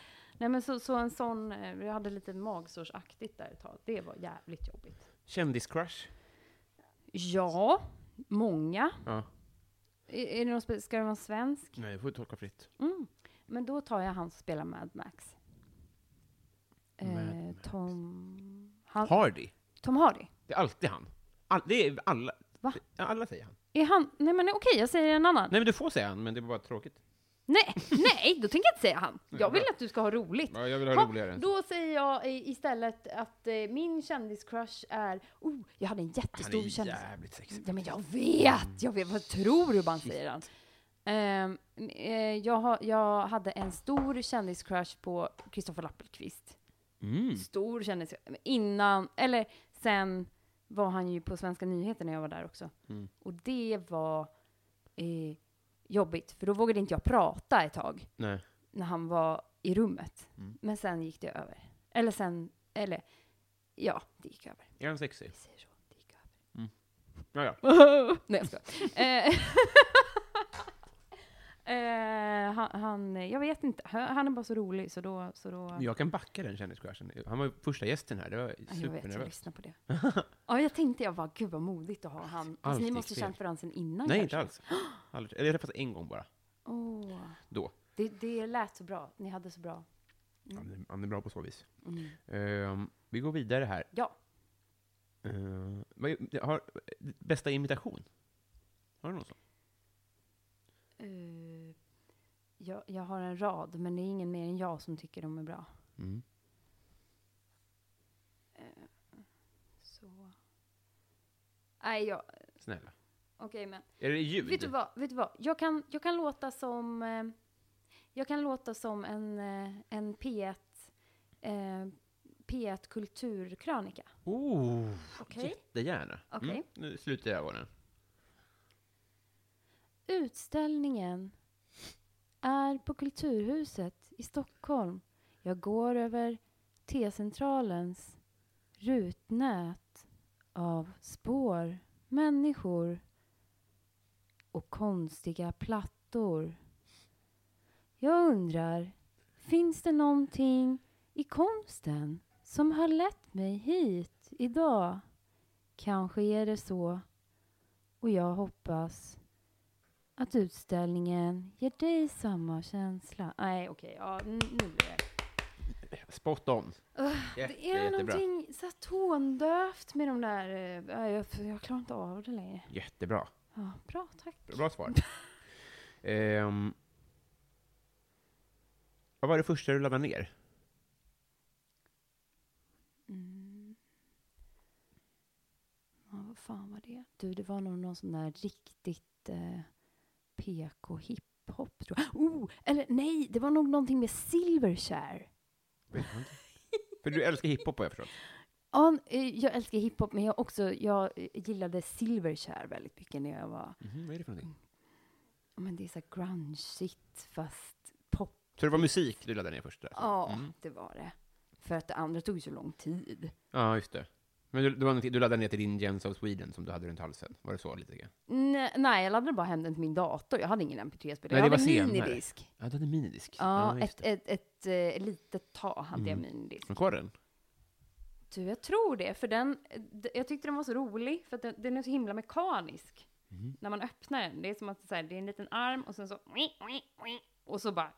Nej, men så, så en sån, eh, jag hade lite magsårsaktigt där ett tag. Det var jävligt jobbigt. Kändiscrush? Ja, många. Ja. Är, är det någon, spe- ska det vara svensk? Nej, det får du tolka fritt. Mm. Men då tar jag han som spelar Mad Max. Mad Eh, Tom... Han, Hardy? Tom Hardy? Det är alltid han. All, det är alla. Va? Ja, alla säger han. Är han... Nej men okej, jag säger en annan. Nej, men du får säga han, men det är bara tråkigt. Nej, nej, då tänker jag inte säga han. Jag vill att du ska ha roligt. Ja, jag vill ha Ha, roligare. Då säger jag i- istället att eh, min kändiscrush är... Oh, jag hade en Han jättestor är kändis... jävligt sexig. Ja, men jag vet! Jag vet vad tror du man säger han? Ehm, eh, jag, har, jag hade en stor kändiscrush på Kristoffer Lappelqvist. Mm. Stor kändis... Innan, eller sen var han ju på Svenska nyheter när jag var där också. Och det var eh, jobbigt, för då vågade inte jag prata ett tag Nej. när han var i rummet. Men sen gick det över. Eller sen, eller ja, det gick över. Är han sexig? Vi säger så, det gick över. Ja, ja. Nej, jag skojar. Eh, Eh, han, han, jag vet inte, han han är bara så rolig så då... Så då Jag kan backa den kändiscrushen. Han var ju första gästen här. Det var Ja, jag vet, jag supernervöst. lyssnar på det. ja, jag tänkte jag bara, gud vad modigt att ha han. Fast Allt ni gick måste fel. känt varandra sen innan Nej, kanske. inte alls. Aldrig. Eller jag träffades en gång bara. Åh, Då. det, det lät så bra, ni hade så bra. Mm. Han är, han är bra på så vis. Ehm, vi går vidare här. Ja, Ehm, vad är- har, bästa imitation? Har du någon sån? Eh, jag, jag har en rad, men det är ingen mer än jag som tycker de är bra. Mm. Så... Nej, jag... Okej, Snälla. men... Är det ljud? Vet du vad? Vet du vad? Jag, kan, jag kan låta som... Eh, jag kan låta som en, eh, en P1... Eh, P1 Kulturkrönika. Oh, Okej. jättegärna. Okej. Mm, nu slutar jag ögonen. Utställningen är på Kulturhuset i Stockholm. Jag går över T-centralens rutnät av spår, människor och konstiga plattor. Jag undrar, finns det någonting i konsten som har lett mig hit idag? Kanske är det så, och jag hoppas att utställningen ger dig samma känsla. Nej, okej. Ja, n- nu blir det. Spot on. Jätte, Det är någonting så här tondövt med de där... eh, ja, Jag, jag klarar inte av det längre. Jättebra. Ja, bra, tack. Bra, bra svar. Ehm, vad var det första du laddade ner? Ja, vad fan var det? Du, det var nog någon sån där riktigt eh, PK hiphop, tror jag. Oh, eller nej, det var nog någonting med Silverchair. För du älskar hiphop har jag förstått. Ja, n- eh, jag älskar hiphop, men jag, också, jag eh, gillade Silverchair väldigt mycket när jag var... Mhm, vad är det för någonting? Men det är så här grunge-shit, fast pop Så det var musik du laddade ner först? där? Ja, det var det. För att det andra tog ju så lång tid. Ja, just det. Men du, det var någonting- du laddade ner till din Gems of Sweden som du hade runt halsen? Var det så lite grann? Nej, nej jag laddade bara hem den till min dator. Jag hade ingen Nej, MP3-spelare. Jag det hade var senare. minidisk. Ja, du hade minidisk. Ja, just Mm. ett, ett, ett, eh, litet tag hade jag minidisk. det. Kvar den? Du, jag tror det. För den, d- jag tyckte den var så rolig, för att den, den är så himla mekanisk. Mm-hmm. När man öppnar den. Det är som att så här, det är en liten arm och sen så... Och så bara...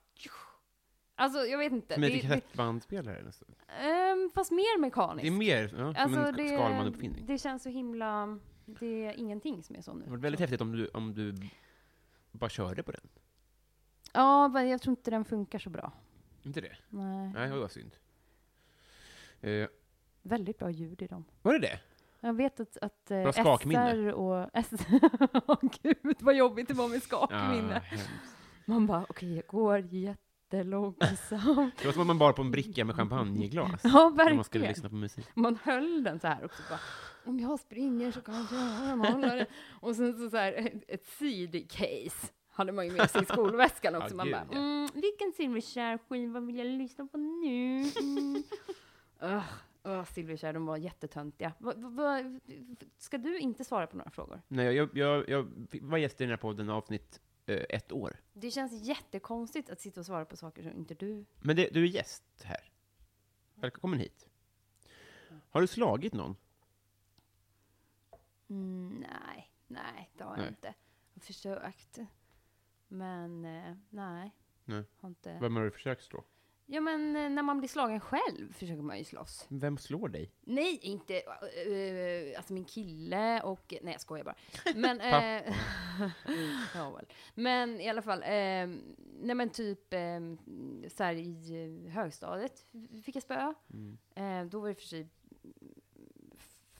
Alltså, jag vet inte. Som en Det- liten kassettbandspelare nästan. det- ehm, fast mer mekaniskt. Det är mer ja, som en sk- Skalman-uppfinning. Alltså, det känns så himla... Det är ingenting som är så nu. Det var väldigt häftigt om du, om du bara körde på den. Ja, men jag tror inte den funkar så bra. Inte det? Nej. Nej, det var synd. Eh, Väldigt bra ljud i dem. var det det? Jag vet att, att eh, Bra skakminne. SR och... SR, Åh gud vad jobbigt det var med skakminne. hemskt. Man bara, okej jag går jättelångsamt. det var som om man bar på en bricka med champagneglas. ja, När man skulle verkligen. lyssna på musik. Man höll den så här också. Bara, om jag springer så kan jag hålla det. Och sen så, så här, ett- ett CD-case hade man ju med sig i skolväskan också. Ja, man gud, bara, ja. mm, vilken Silverchair-skiva vill jag lyssna på nu? Mm. Ugh, ugh, Silverchair, de var jättetöntiga. Va, va, va, ska du inte svara på några frågor? Nej, jag, jag, jag var gäst i den här podden avsnitt eh, ett år. Det känns jättekonstigt att sitta och svara på saker som inte du... Men det, du är gäst här. Välkommen hit. Har du slagit någon? Mm, nej, nej, det har Nej. jag inte. Jag har försökt. Men eh, nej. Nej. Har inte. Vem har du försökt slå? Ja, men eh, när man blir slagen själv försöker man ju slåss. Vem slår dig? Nej, inte eh, eh, alltså min kille och... Nej, jag skojar bara. Men... eh, ja, väl. Men i alla fall. Eh, nej, men typ eh, så här i eh, högstadiet fick jag spö. Eh, då var det för sig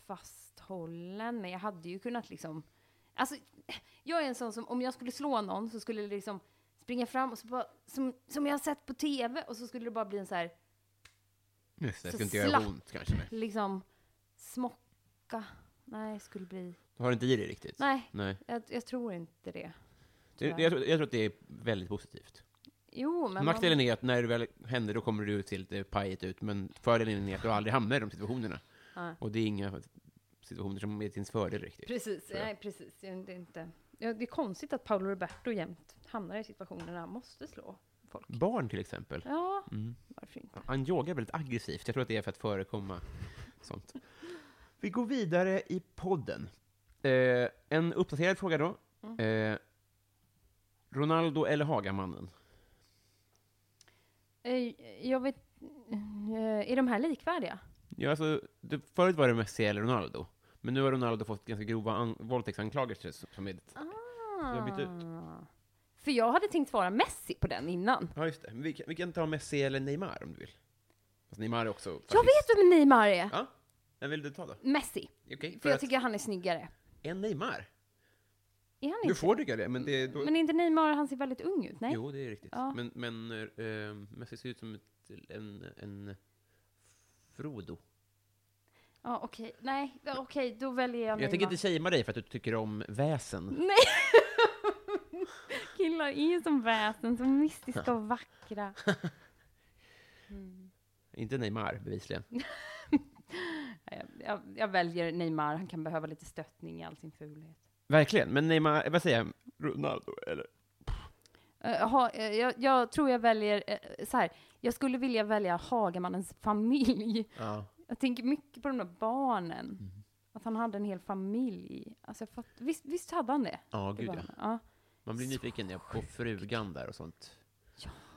fasthållen, men jag hade ju kunnat liksom... Alltså, jag är en sån som om jag skulle slå någon så skulle det liksom springa fram och så bara, som, som jag har sett på tv och så skulle det bara bli en så här Just det, Så ska inte göra slapp. ont kanske. Nej. liksom smocka. Nej, skulle bli... Du har inte i dig riktigt? Nej, Nej. jag, jag tror inte det. Det- Jag, Tyvärr. tror- jag tror att det är väldigt positivt. Jo, men... Nackdelen är att när det väl händer, då kommer du se lite pajigt ut, men fördelen är att du aldrig hamnar i de situationerna. Nej. Och det är inga situationer som är till ens fördel riktigt. Precis, tror jag. nej precis. Det är inte... Ja, det är konstigt att Paolo Roberto jämt hamnar i situationer där han måste slå folk. Barn till exempel. Ja, Mm. varför inte? Han yogar väldigt aggressivt. Jag tror att det är för att förekomma sånt. Vi går vidare i podden. Eh, en uppdaterad fråga då. Mm. Eh, Ronaldo eller Hagamannen? Eh, Jag vet... eh, Är de här likvärdiga? Ja, alltså, det, förut var det Messi eller Ronaldo. Men nu har Ronaldo fått ganska grova an- våldtäktsanklagelser. Som, som är, har bytt ut. Ah. För jag hade tänkt svara Messi på den innan. Ja, just det. Men Vi kan, vi kan ta Messi eller Neymar om du vill. Fast Neymar är också... Jag vet vem Neymar är! Ja, vem vill du ta då? Messi. Okej, för, För jag att, tycker han är snyggare. en Neymar? Är han Du inte? får tycka det, men det... Då, Men är inte Neymar, han ser väldigt ung ut? Nej? Jo, det är riktigt. Ja. Men, men eh, Messi ser ut som ett, en, en Frodo. Ja, okej. Nej, ja, okej, då väljer jag Jag tänker Neymar. inte shamea dig för att du tycker om väsen. Nej! Killar är ju som väsen, så mystiska och vackra. Inte Neymar, bevisligen. Nej, Jag, jag, jag väljer Neymar, han kan behöva lite stöttning i all sin fulhet. Verkligen, men Neymar, vad säger jag? Ronaldo, eller? Eh, ha, eh, jag, jag tror jag väljer, eh, så här, jag skulle vilja välja Hagamannens familj. Ja. Jag tänker mycket på de där barnen. Mm. Att han hade en hel familj. Alltså jag fatt, visst, visst hade han det? Ja, Det gud var ja. han. ja. Man blir nyfiken ja, på frugan där och sånt.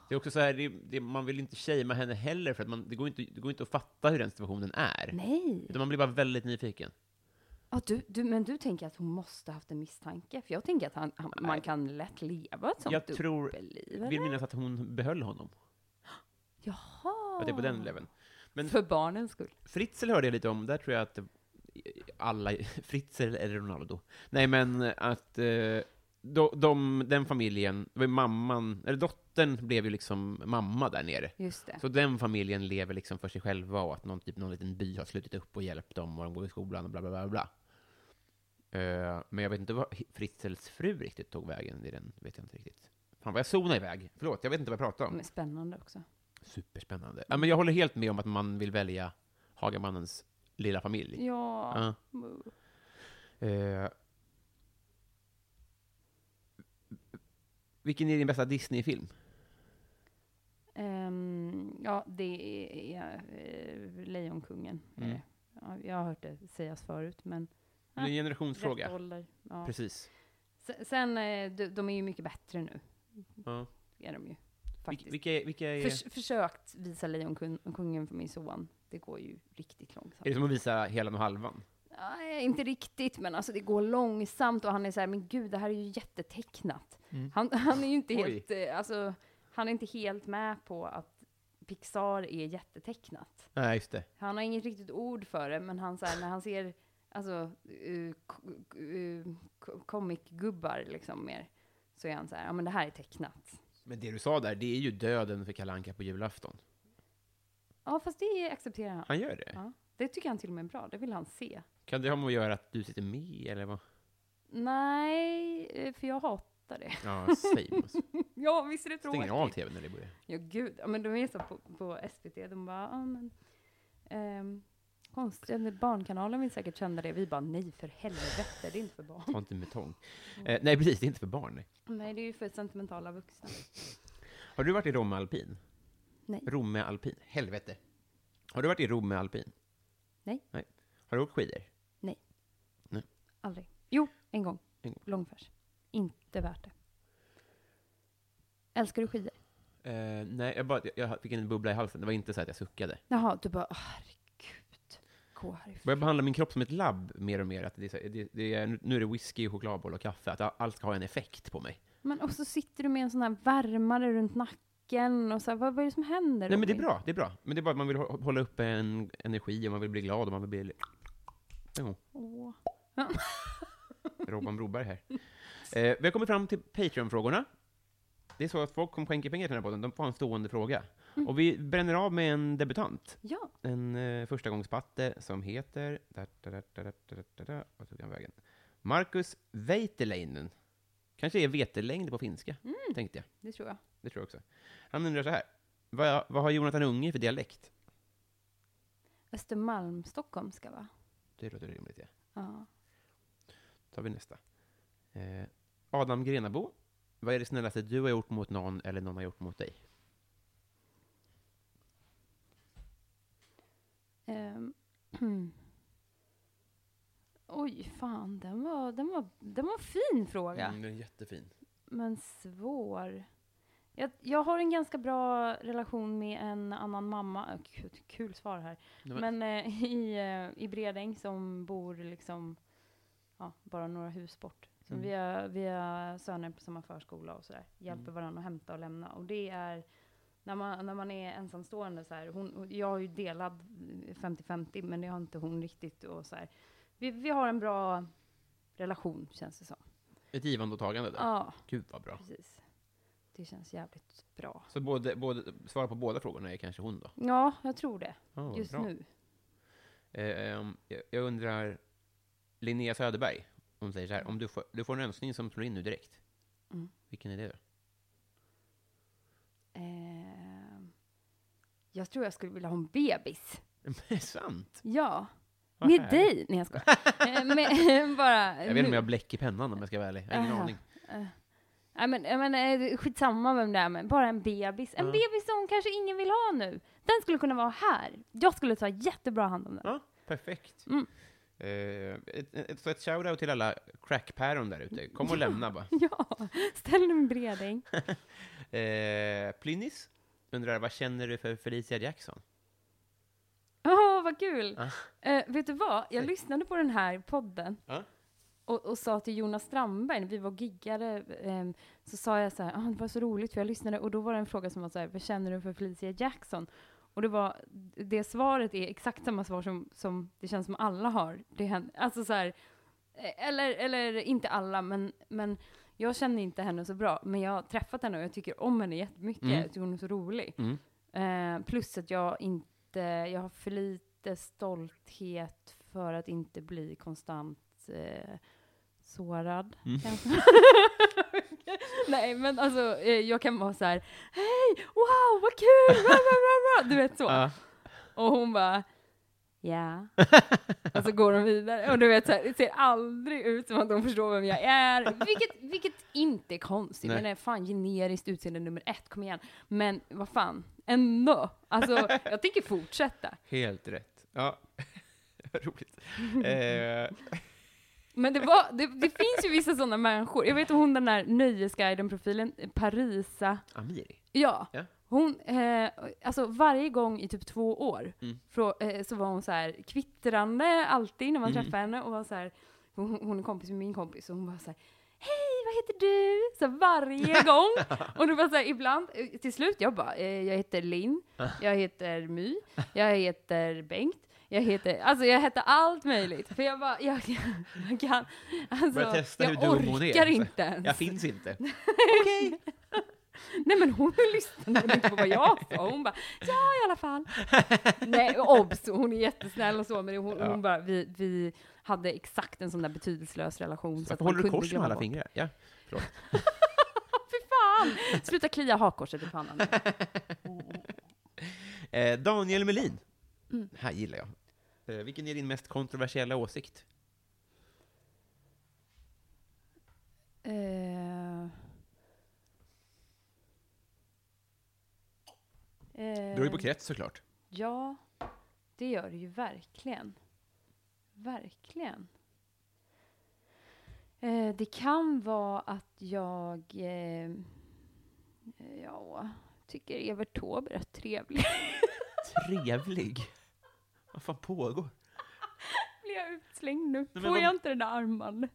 Det är också så här, det, det, man vill inte shamea henne heller, för att man, det, går inte, det går inte att fatta hur den situationen är. Nej! Utan man blir bara väldigt nyfiken. Ja, du, du, men du tänker att hon måste haft en misstanke? För jag tänker att han, han, man kan lätt leva ett sånt Jag tror- dubbelliv. Vill minnas att hon behöll honom. Jaha! Att det är på den leveln. Men- För barnens skull. Fritzl hörde jag lite om, där tror jag att alla, Fritzl eller Ronaldo, nej men att eh, de, de, den familjen, det var ju mamman, eller dottern blev ju liksom mamma där nere. Just det. Så den familjen lever liksom för sig själva och att någon, typ, någon liten by har slutit upp och hjälpt dem och de går i skolan och bla bla bla. bla. Eh, men jag vet inte vad Fritzls fru riktigt tog vägen i den, vet jag inte riktigt. Fan vad jag zonade iväg, förlåt, jag vet inte vad jag pratar om. Men spännande också. Superspännande. Ja, men jag håller helt med om att man vill välja Hagamannens lilla familj. Ja. Ja. Eh, vilken är din bästa Disney-film? Ehm, ja, det är eh, Lejonkungen. är Mm. det. Ja, jag har hört det sägas förut, men Det är en Ja, rätt generationsfråga. ålder. Ja. Precis. Se- Sen, eh, de, de är ju mycket bättre nu. Ja. Är de ju. Vil- Faktiskt. vilka, vilka är... Förs- försökt visa Lejonkungen för min son. Det går ju riktigt långsamt. Är det som att visa helan och halvan? Nej, inte riktigt, men alltså det går långsamt och han är så här, men gud, det här är ju jättetecknat. Han, han är ju inte Mm. Oj. helt, eh, alltså, han är inte helt med på att Pixar är jättetecknat. Nej, just det. Han har inget riktigt ord för det, men han så här, när han ser alltså, eh, k- k- eh, k- comic-gubbar liksom mer, så är han så här, ja men det här är tecknat. Men det du sa där, det är ju döden för Kalanka på julafton. Ja, fast det accepterar han. Han gör det? Ja. Det tycker han till och med är bra, det vill han se. Kan det ha med att göra att du sitter med, eller vad? Nej, eh, för jag hatar det. Ja, same. Ja, visst är det Stänger av tråkigt? tvn när det börjar. Ja, gud. Ja, men de är så på, på SVT, de bara, ja men... Ehm, konstigt, Barnkanalen vill säkert känna det. Vi bara, nej för helvete, det är inte för barn. Ta inte med tång. Mm. Eh, nej, precis, det är inte för barn. nej. Nej, det är ju för sentimentala vuxna. Har du varit i Romme alpin? Nej. Romme alpin? Helvete. Har du varit i Romme alpin? Nej. nej. Har du åkt skidor? Aldrig. Jo, en gång. En gång. Långfärs. Inte värt det. Älskar du skidor? Eh, nej, jag, bara, jag fick en bubbla i halsen. Det var inte så att jag suckade. Jaha, du bara, åh, herregud. Gå härifrån. börjar behandla min kropp som ett labb mer och mer. Att det är så, här- det, det är, nu är det whisky, chokladboll och kaffe. Att allt ska ha en effekt på mig. Men och så sitter du med en sån här värmare runt nacken och så här, vad, vad är det som händer? Nej, men det är Robin? bra. Det är bra. Men det är bara att man vill hå- hålla uppe en energi och man vill bli glad och man vill bli... Jo, Åh. Robban Broberg här. Eh, vi har kommit fram till Patreon-frågorna. Det är så att folk kommer skänka pengar till den här podden. De får ha en stående fråga. Och vi bränner av med en debutant. Ja, En eh, förstagångspatte som heter... Da, da, da, da, da, da, da, da. Vad tog han vägen? Marcus Veiteleinen. Kanske är vetelängd på finska, tänkte jag. det tror jag. Det tror jag också. Han undrar så här. Vad, vad har Jonathan Unge för dialekt? Östermalm, Stockholm ska vara. Det låter rimligt, ja. Ja. tar vi nästa. Eh, Adam Grenabo. Vad är det snällaste du har gjort mot någon eller någon har gjort mot dig? Ehm, Oj, fan, den var, den var, den var en fin fråga, Mm, det är jättefin. men svår. Jag, jag har en ganska bra relation med en annan mamma, Äh, gud, kul svar här, Nej, men eh, i, eh, i Bredäng som bor liksom, ja, bara några hus bort. Så Mm. vi, har, vi har söner på samma förskola och sådär, hjälper Mm. varandra att hämta och lämna. Och det är, när man, när man är ensamstående så här, hon, och jag har ju delat 50-50, men det har inte hon riktigt. Och så här. Vi, vi har en bra relation, känns det som. Ett givande och tagande där. Ja, Gud vad bra. precis. Det känns jävligt bra. Så både, både, svara på båda frågorna är kanske hon då? Ja, jag tror det, Ja, vad just bra. nu. Eh, ehm, jag- jag undrar, Linnea Söderberg, hon säger så här, om du får, du får en önskning som slår in nu direkt. Mm. Vilken är det då? Ehm, jag tror jag skulle vilja ha en bebis. Det är sant! Ja. Vad med härligt. dig! Nej, jag skojar. Eh, men, bara, Jag vet inte om Eh, nu. Eh, jag har bläck i pennan om jag ska vara ärlig. Jag har ingen Aha. aning. Nej, men, jag menar, eh, skitsamma vem det är, men bara en bebis. En Ja. bebis som kanske ingen vill ha nu. Den skulle kunna vara här. Jag skulle ta jättebra hand om den. Ja, perfekt. Mm. Eh, ett, ett, så ett shoutout till alla crackpäron där ute. Kom och lämna bara. Ja, ställ den bredäng. Eh, Plynnis undrar, vad känner du för Felicia Jackson? Åh, vad kul! Ja. Eh, vet du vad? Jag Säg. lyssnade på den här podden Ja. och, och sa till Jonas Strandberg, när vi var och giggade, ehm, så sa jag så här, ah, det var så roligt för jag lyssnade och då var det en fråga som var så här, vad känner du för Felicia Jackson? Och det var, det svaret är exakt samma svar som, som det känns som alla har. Det händer, alltså så här, eh, eller, eller inte alla, men, men jag känner inte henne så bra, men jag har träffat henne och jag tycker om henne jättemycket. Mm. Jag tycker hon är så rolig. Mm. Eh, plus att jag inte, jag har för lite stolthet för att inte bli konstant eh, sårad. Mm. kanske. Nej, men alltså eh, jag kan vara så här, hej, wow, vad kul, bra, bra, bra, bra. du vet så. Ja. Och hon bara, ja. Och så går hon vidare. Och du vet, så här, det ser aldrig ut som att de förstår vem jag är. Vilket, vilket inte är konstigt. Nej. Men det är fan generiskt utseende nummer ett, kom igen. Men vad fan, ändå. Alltså, jag tänker fortsätta. Helt rätt. Ja, roligt. Eh, Men det, var, det, det finns ju vissa sådana människor. Jag vet hon den där Nöjesguiden-profilen, Parisa. Amiri? Ja. Ja. Hon, eh, alltså varje gång i typ två år Mm. frå, eh, så var hon så här kvittrande alltid när man Mm. träffade henne och var så här, hon, hon är kompis med min kompis och hon var så här, hej vad heter du? Så varje gång. Och då var så här, ibland, eh, till slut, jag bara, eh, jag heter Linn, jag heter My, jag heter Bengt, jag heter, alltså jag heter allt möjligt. För jag bara, jag, jag kan, Börja alltså, testa hur jag dum hon är. alltså. orkar inte ens. Jag finns inte. Nej men hon lyssnade inte på vad jag sa, hon bara ja i alla fall. Nej obs, hon är jättesnäll och så men hon, hon bara vi, vi hade exakt en sån där betydelslös relation. Varför man håller du kunde kors med glömma alla bort. fingrar? Ja. Fy fan! Sluta klia hakkorset i pannan. Eh, Daniel Melin. Mm. Det här gillar jag. Eh, vilken är din mest kontroversiella åsikt? Eh. Det beror ju på Eh, krets såklart. Ja, det gör det ju verkligen. Verkligen. Eh, det kan vara att jag eh, ja, tycker Evert Taube är rätt trevlig. Trevlig. Vad fan pågår? Blir jag utslängd nu? men Får vad- jag inte den där armbanden?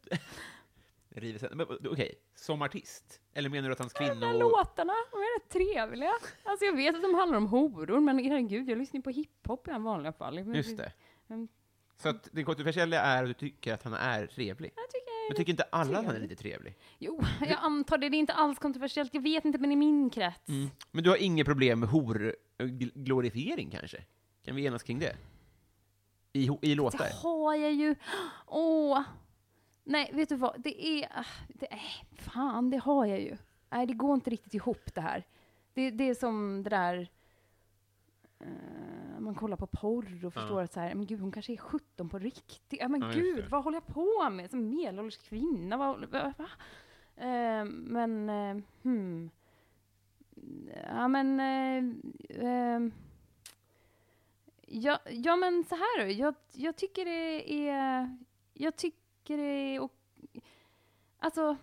River sen. Men, Okej, som artist? Eller menar du att hans De där kvinno... låtarna, de är rätt trevliga. Alltså jag vet att de handlar om horor, men herregud, jag lyssnar ju på hiphop i vanliga fall. Just det. Mm. Så att det kontroversiella är att du tycker att han är trevlig? Jag tycker Men tycker inte alla att han är lite trevlig? Jo, jag antar det. Det är inte alls kontroversiellt. Jag vet inte, men i min krets. Mm. Men du har inget problem med horglorifiering kanske? Kan vi enas kring det? I, ho- i låtar? Det har jag ju. Åh! Nej, vet du vad? Det är... ah, Det, äh, fan, det har jag ju. Nej, det går inte riktigt ihop det här. Det, det är som det där... eh, man kollar på porr och förstår att så här, men gud, hon kanske är 17 på riktigt. Ja, men Ja, just gud, det. vad håller jag på med? Som medelålders kvinna, vad håller- va? va? Eh, men, eh, hmm. Ja, men... eh, ehm. Ja, ja men så här då. Jag, jag tycker det är... Jag tycker det är... Och, alltså...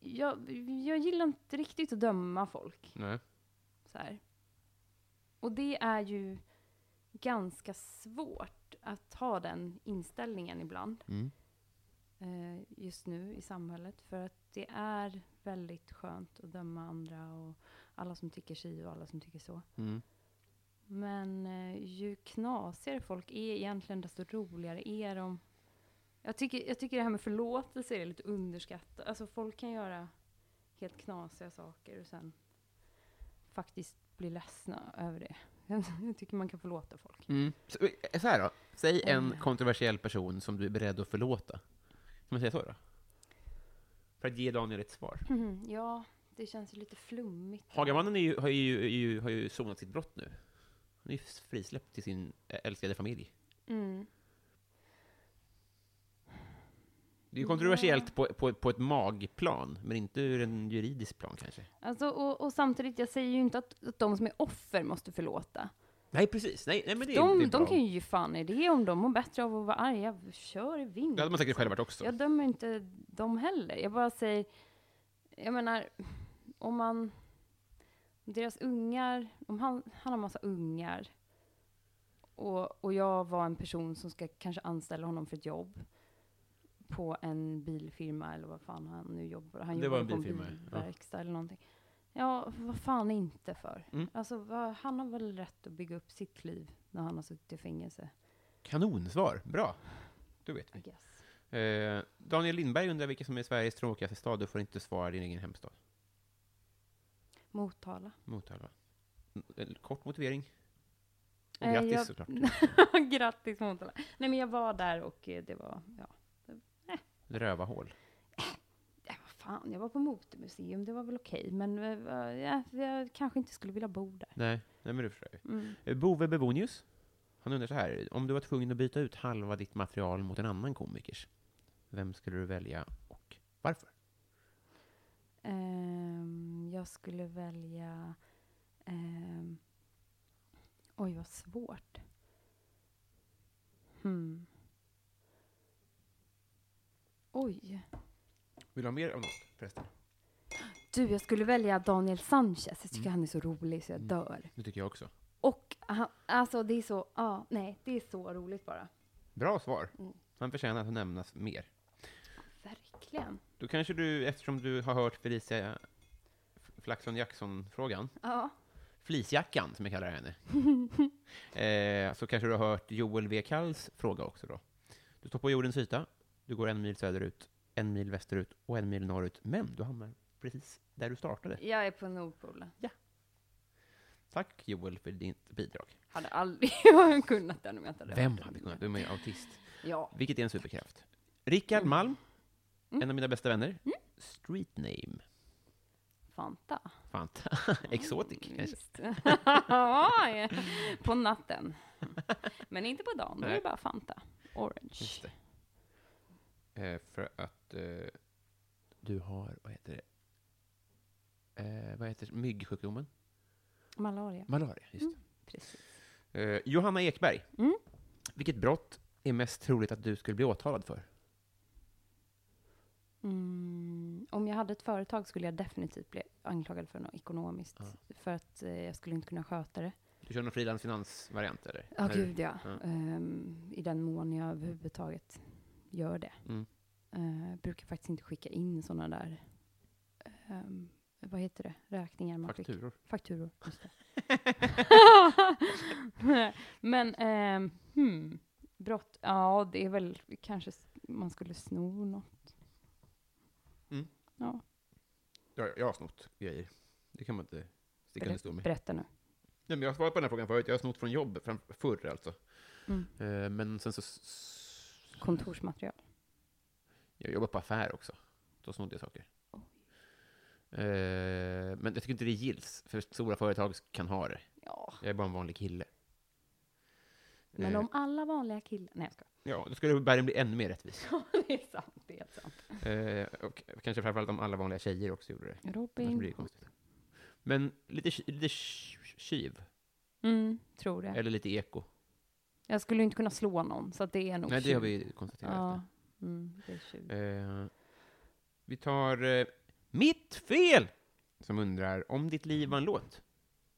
Jag, jag gillar inte riktigt att döma folk. Nej. Så här. Och det är ju ganska svårt att ha den inställningen ibland. Mm. Eh, just nu i samhället. För att det är väldigt skönt att döma andra och alla som tycker si och alla som tycker så. Mm. Men eh, ju knasigare folk är egentligen, desto roligare är de. Jag tycker, jag tycker det här med förlåtelse är lite underskattat. Alltså folk kan göra helt knasiga saker och sen faktiskt bli ledsna över det. Jag tycker man kan förlåta folk. Mm. Så, eh, så här då, säg en kontroversiell person som du är beredd att förlåta. Kan man säga så då? För att ge Daniel ett svar. Ja, det känns ju lite flummigt. Hagamannen är ju, har, ju, är ju, har ju sonat sitt brott nu. Han är ju frisläppt till sin eh, älskade familj. Mm. Det är ju kontroversiellt på, på, på ett magplan, men inte ur en juridisk plan kanske. Alltså, och, och samtidigt, jag säger ju inte att, att de som är offer måste förlåta. Nej, precis. Nej, nej men det, är- det De, är de bra. kan ju ge fan i det om de mår bättre av att vara arga. Kör i vind. Det hade man säkert själv varit också. Jag dömer inte dem heller. Jag bara säger, jag menar, om man, om deras ungar, om han, han har massa ungar och, och jag var en person som ska kanske anställa honom för ett jobb på en bilfirma eller vad fan han nu jobbar. Han Det jobbar var en på en bilfirma, ja. bilverkstad eller någonting. Ja, vad fan inte för? Mm. Alltså, vad, han har väl rätt att bygga upp sitt liv när han har suttit i fängelse, Kanonsvar. Bra. Då vet I vi. guess. Eh, Daniel Lindberg undrar vilken som är Sveriges tråkigaste stad. Du får inte svara din egen hemstad. Motala. Motala. Mm, en Kort motivering. Och Eh, grattis jag- såklart. Grattis Motala. Nej men jag var där och eh, det var, ja, Rövahål. ja vad fan, jag var på Motormuseum, det var väl okej, men eh, va- ja, jag kanske inte skulle vilja bo där. Nej, nej men du förstår ju. Mm. Eh, Bove Bebonius. Han undrar så här. Om du var tvungen att byta ut halva ditt material mot en annan komikers. Vem skulle du välja och varför? Ehm, jag skulle välja, ehm, oj vad svårt. Hmm. Oj. Vill du ha mer av något förresten? Du, jag skulle välja Daniel Sanchez. Jag tycker Mm. han är så rolig så jag dör. Det tycker jag också. Och han, alltså det är så, ja, nej, det är så roligt bara. Bra svar. Han förtjänar att nämnas mer. Verkligen. verkligen. Då kanske du, eftersom du har hört Felicia Flaxon Jackson-frågan, Ja. Fleecejackan som jag kallar henne, eh, så kanske du har hört Joel W. Kalls fråga också då. Du står på jordens yta, du går en mil söderut, en mil västerut och en mil norrut, men du hamnar precis där du startade. Jag är på Nordpolen. Tack Joel för ditt bidrag. Hade aldrig kunnat den om jag inte hade Vem hört den. hade kunnat? Du är ju autist. Ja. Vilket är en superkraft. Rickard Malm, Mm. en av mina bästa vänner. Street name. Fanta. Fanta. Exotic, kanske. Visst. Ja, ja. på natten. Men inte på dagen, då är Nej. det bara Fanta. Orange. Just det. Eh, för att eh, du har, vad heter det? Eh, vad heter myggsjukdomen? Malaria. Malaria, just det. Precis. Eh, Johanna Ekberg. Mm. Vilket brott är mest troligt att du skulle bli åtalad för? Mm. Om jag hade ett företag skulle jag definitivt bli anklagad för något ekonomiskt. För att eh, jag skulle inte kunna sköta det. Du kör någon frilansfinansvariant, eller? Ja, När du- gud ja. ja. Ehm, I den mån jag överhuvudtaget gör det. Mm. Eh, brukar faktiskt inte skicka in sådana där, ehm, vad heter det, räkningar man skickar. Fakturor. Fakturor, just det. Men, ehm, hmm, brott, ja det är väl kanske s- man skulle sno något. Mm. Ja, Ja, jag har snott grejer. Det kan man inte sticka under berätta, stol med. berätta nu. Nej, men jag har svarat på den här frågan förut. Jag har snott från jobb, fram, förr alltså. Mm. Eh, men sen så... s- Kontorsmaterial. Jag jobbar på affär också. Då snodde jag saker. Oj. Eh, men jag tycker inte det gills, för stora företag kan ha det. Ja, Jag är bara en vanlig kille. men Eh, om alla vanliga killar, nej jag skojar. Ja, då skulle bergen bli ännu mer rättvis. det är sant, det är helt sant. Eh, och kanske framförallt om alla vanliga tjejer också gjorde det. Annars blir det Robin. konstigt. Men lite, ky- lite ky- kyv, Mm, tror det. eller lite eko. Jag skulle ju inte kunna slå någon, så att det är nog Nej, det har tjuv. vi ju konstaterat. Ja, mm, det är tjuv. Eh, vi tar eh, Mitt fel! Som undrar om ditt liv var en låt.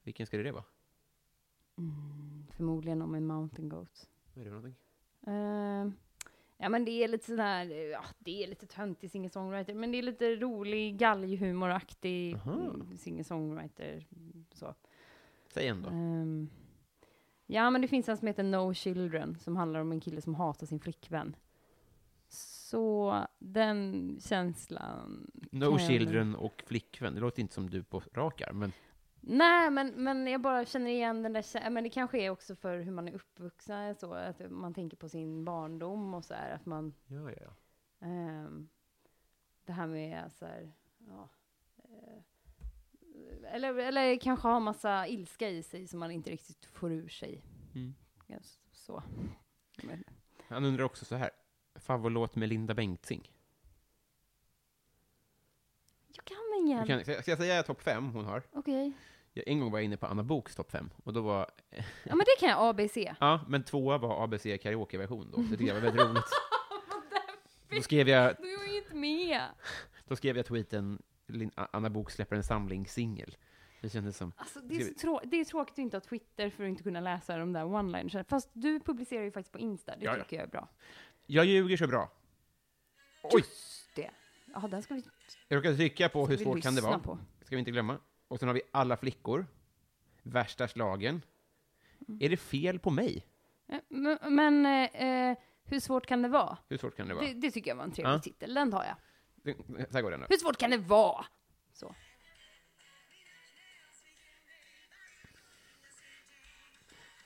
Vilken skulle det vara? Mm, förmodligen om en mountain goat. Vad är det för någonting? Eh, ja, men det är lite sån här, eh, ja, det är lite töntig singer-songwriter, men det är lite rolig galghumoraktig Aha. mm, singer-songwriter. mm, Så. Säg en då. Ehm, ja, men det finns en som heter No Children, som handlar om en kille som hatar sin flickvän. Så den känslan no kan- Children och Flickvän. Det låter inte som du på rakar, men Nej, men, men jag bara känner igen den där kä- Men det kanske är också för hur man är uppvuxen, så att man tänker på sin barndom och så här, att man... ja, ja, ja. ehm, det här med så här, ja... eh, eller, eller kanske har massa ilska i sig som man inte riktigt får ur sig. Mm. Ja, s- Så. Men, Han undrar också så här. Favoritlåt med Linda Bengtzing. jag kan ingen. Du Kan, ska ska jag säga topp fem hon har? Okej. Jag, en gång var jag inne på Anna Boks topp fem, och då var... Ja, men det kan jag. A, B, C. Ja, men tvåa var ABC karaokeversion då. Det tyckte jag var väldigt roligt. Då skrev jag Du är ju inte med. Då skrev jag tweeten Lin- Anna Bok släpper en samling singel. Det kändes som... Alltså, det, är så trå- det är tråkigt att inte ha Twitter för att inte kunna läsa de där one-linersen. Fast du publicerar ju faktiskt på Insta, det Ja, ja. tycker jag är bra. Jag ljuger så bra. Oj! Det. Ja, den ska vi, Jag råkade trycka på Hur vi svårt kan det lyssna vara? på. Ska vi inte glömma. Och sen har vi Alla flickor. Värsta slagen. Mm. Är det fel på mig? Eh, Men, men eh, eh, hur svårt kan det vara? Hur svårt kan det vara? Det, det tycker jag var en trevlig Ja. titel, den tar jag. Det... Så här går den då. Hur svårt kan det vara? Så.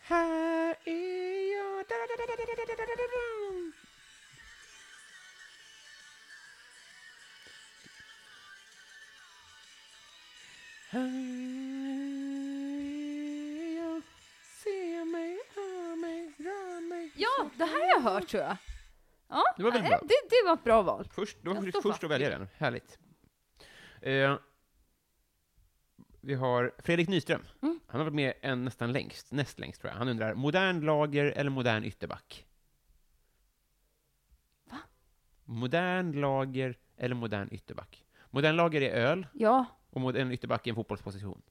Här är jag... Da, da, da, da, da, da, da, da, da, da. Här är jag, se mig, hör mig, rör mig. Ja, det här har jag hört tror jag. Ja, Det var väldigt eh, bra. det, det var ett bra val. Först, då Jag var står du först fast att välja den. Härligt. Eh, vi har Fredrik Nyström. Mm. Han har varit med en nästan längst, näst längst tror jag. Han undrar, modern lager eller modern ytterback? Va? Modern lager eller modern ytterback? Modern lager är öl Ja, och modern ytterback är en fotbollsposition.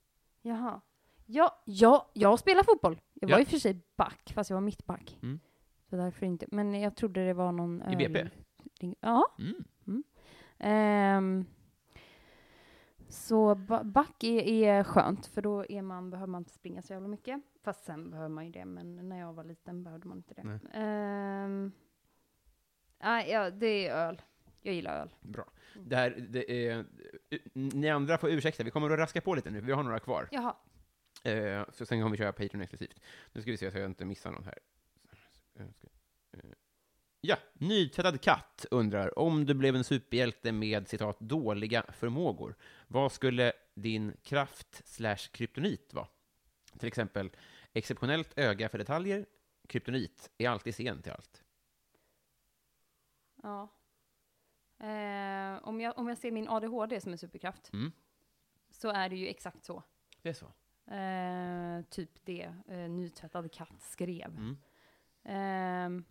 jaha. Ja, ja, jag spelar fotboll. Jag var Ja. ju för sig back, fast jag var mittback. Mm. Så därför inte. Men jag trodde det var någon... I BP? öl- Ja. Mm. Ehm, så ba- back är, är skönt, för då är man, behöver man inte springa så jävla mycket. Fast sen behöver man ju det, men när jag var liten behövde man inte det. Nej. Ehm, nej, ja, det är öl. Jag gillar öl. Bra. Det här, det är, ni andra får ursäkta, vi kommer att raska på lite nu, vi har några kvar. Jaha. Eh, så sen kommer vi köra Patreon exklusivt. Nu ska vi se så jag inte missar någon här. Eh, ska- eh. Ja, nytvättad katt undrar, om du blev en superhjälte med citat dåliga förmågor, vad skulle din kraft slash kryptonit vara? Till exempel, exceptionellt öga för detaljer, kryptonit, är alltid sen till allt. Ja. Eh, om, jag, om jag ser min ADHD som en superkraft, Mm. så är det ju exakt så. Det är så. Eh, typ det eh, nytvättad katt skrev. Mm. Ehm,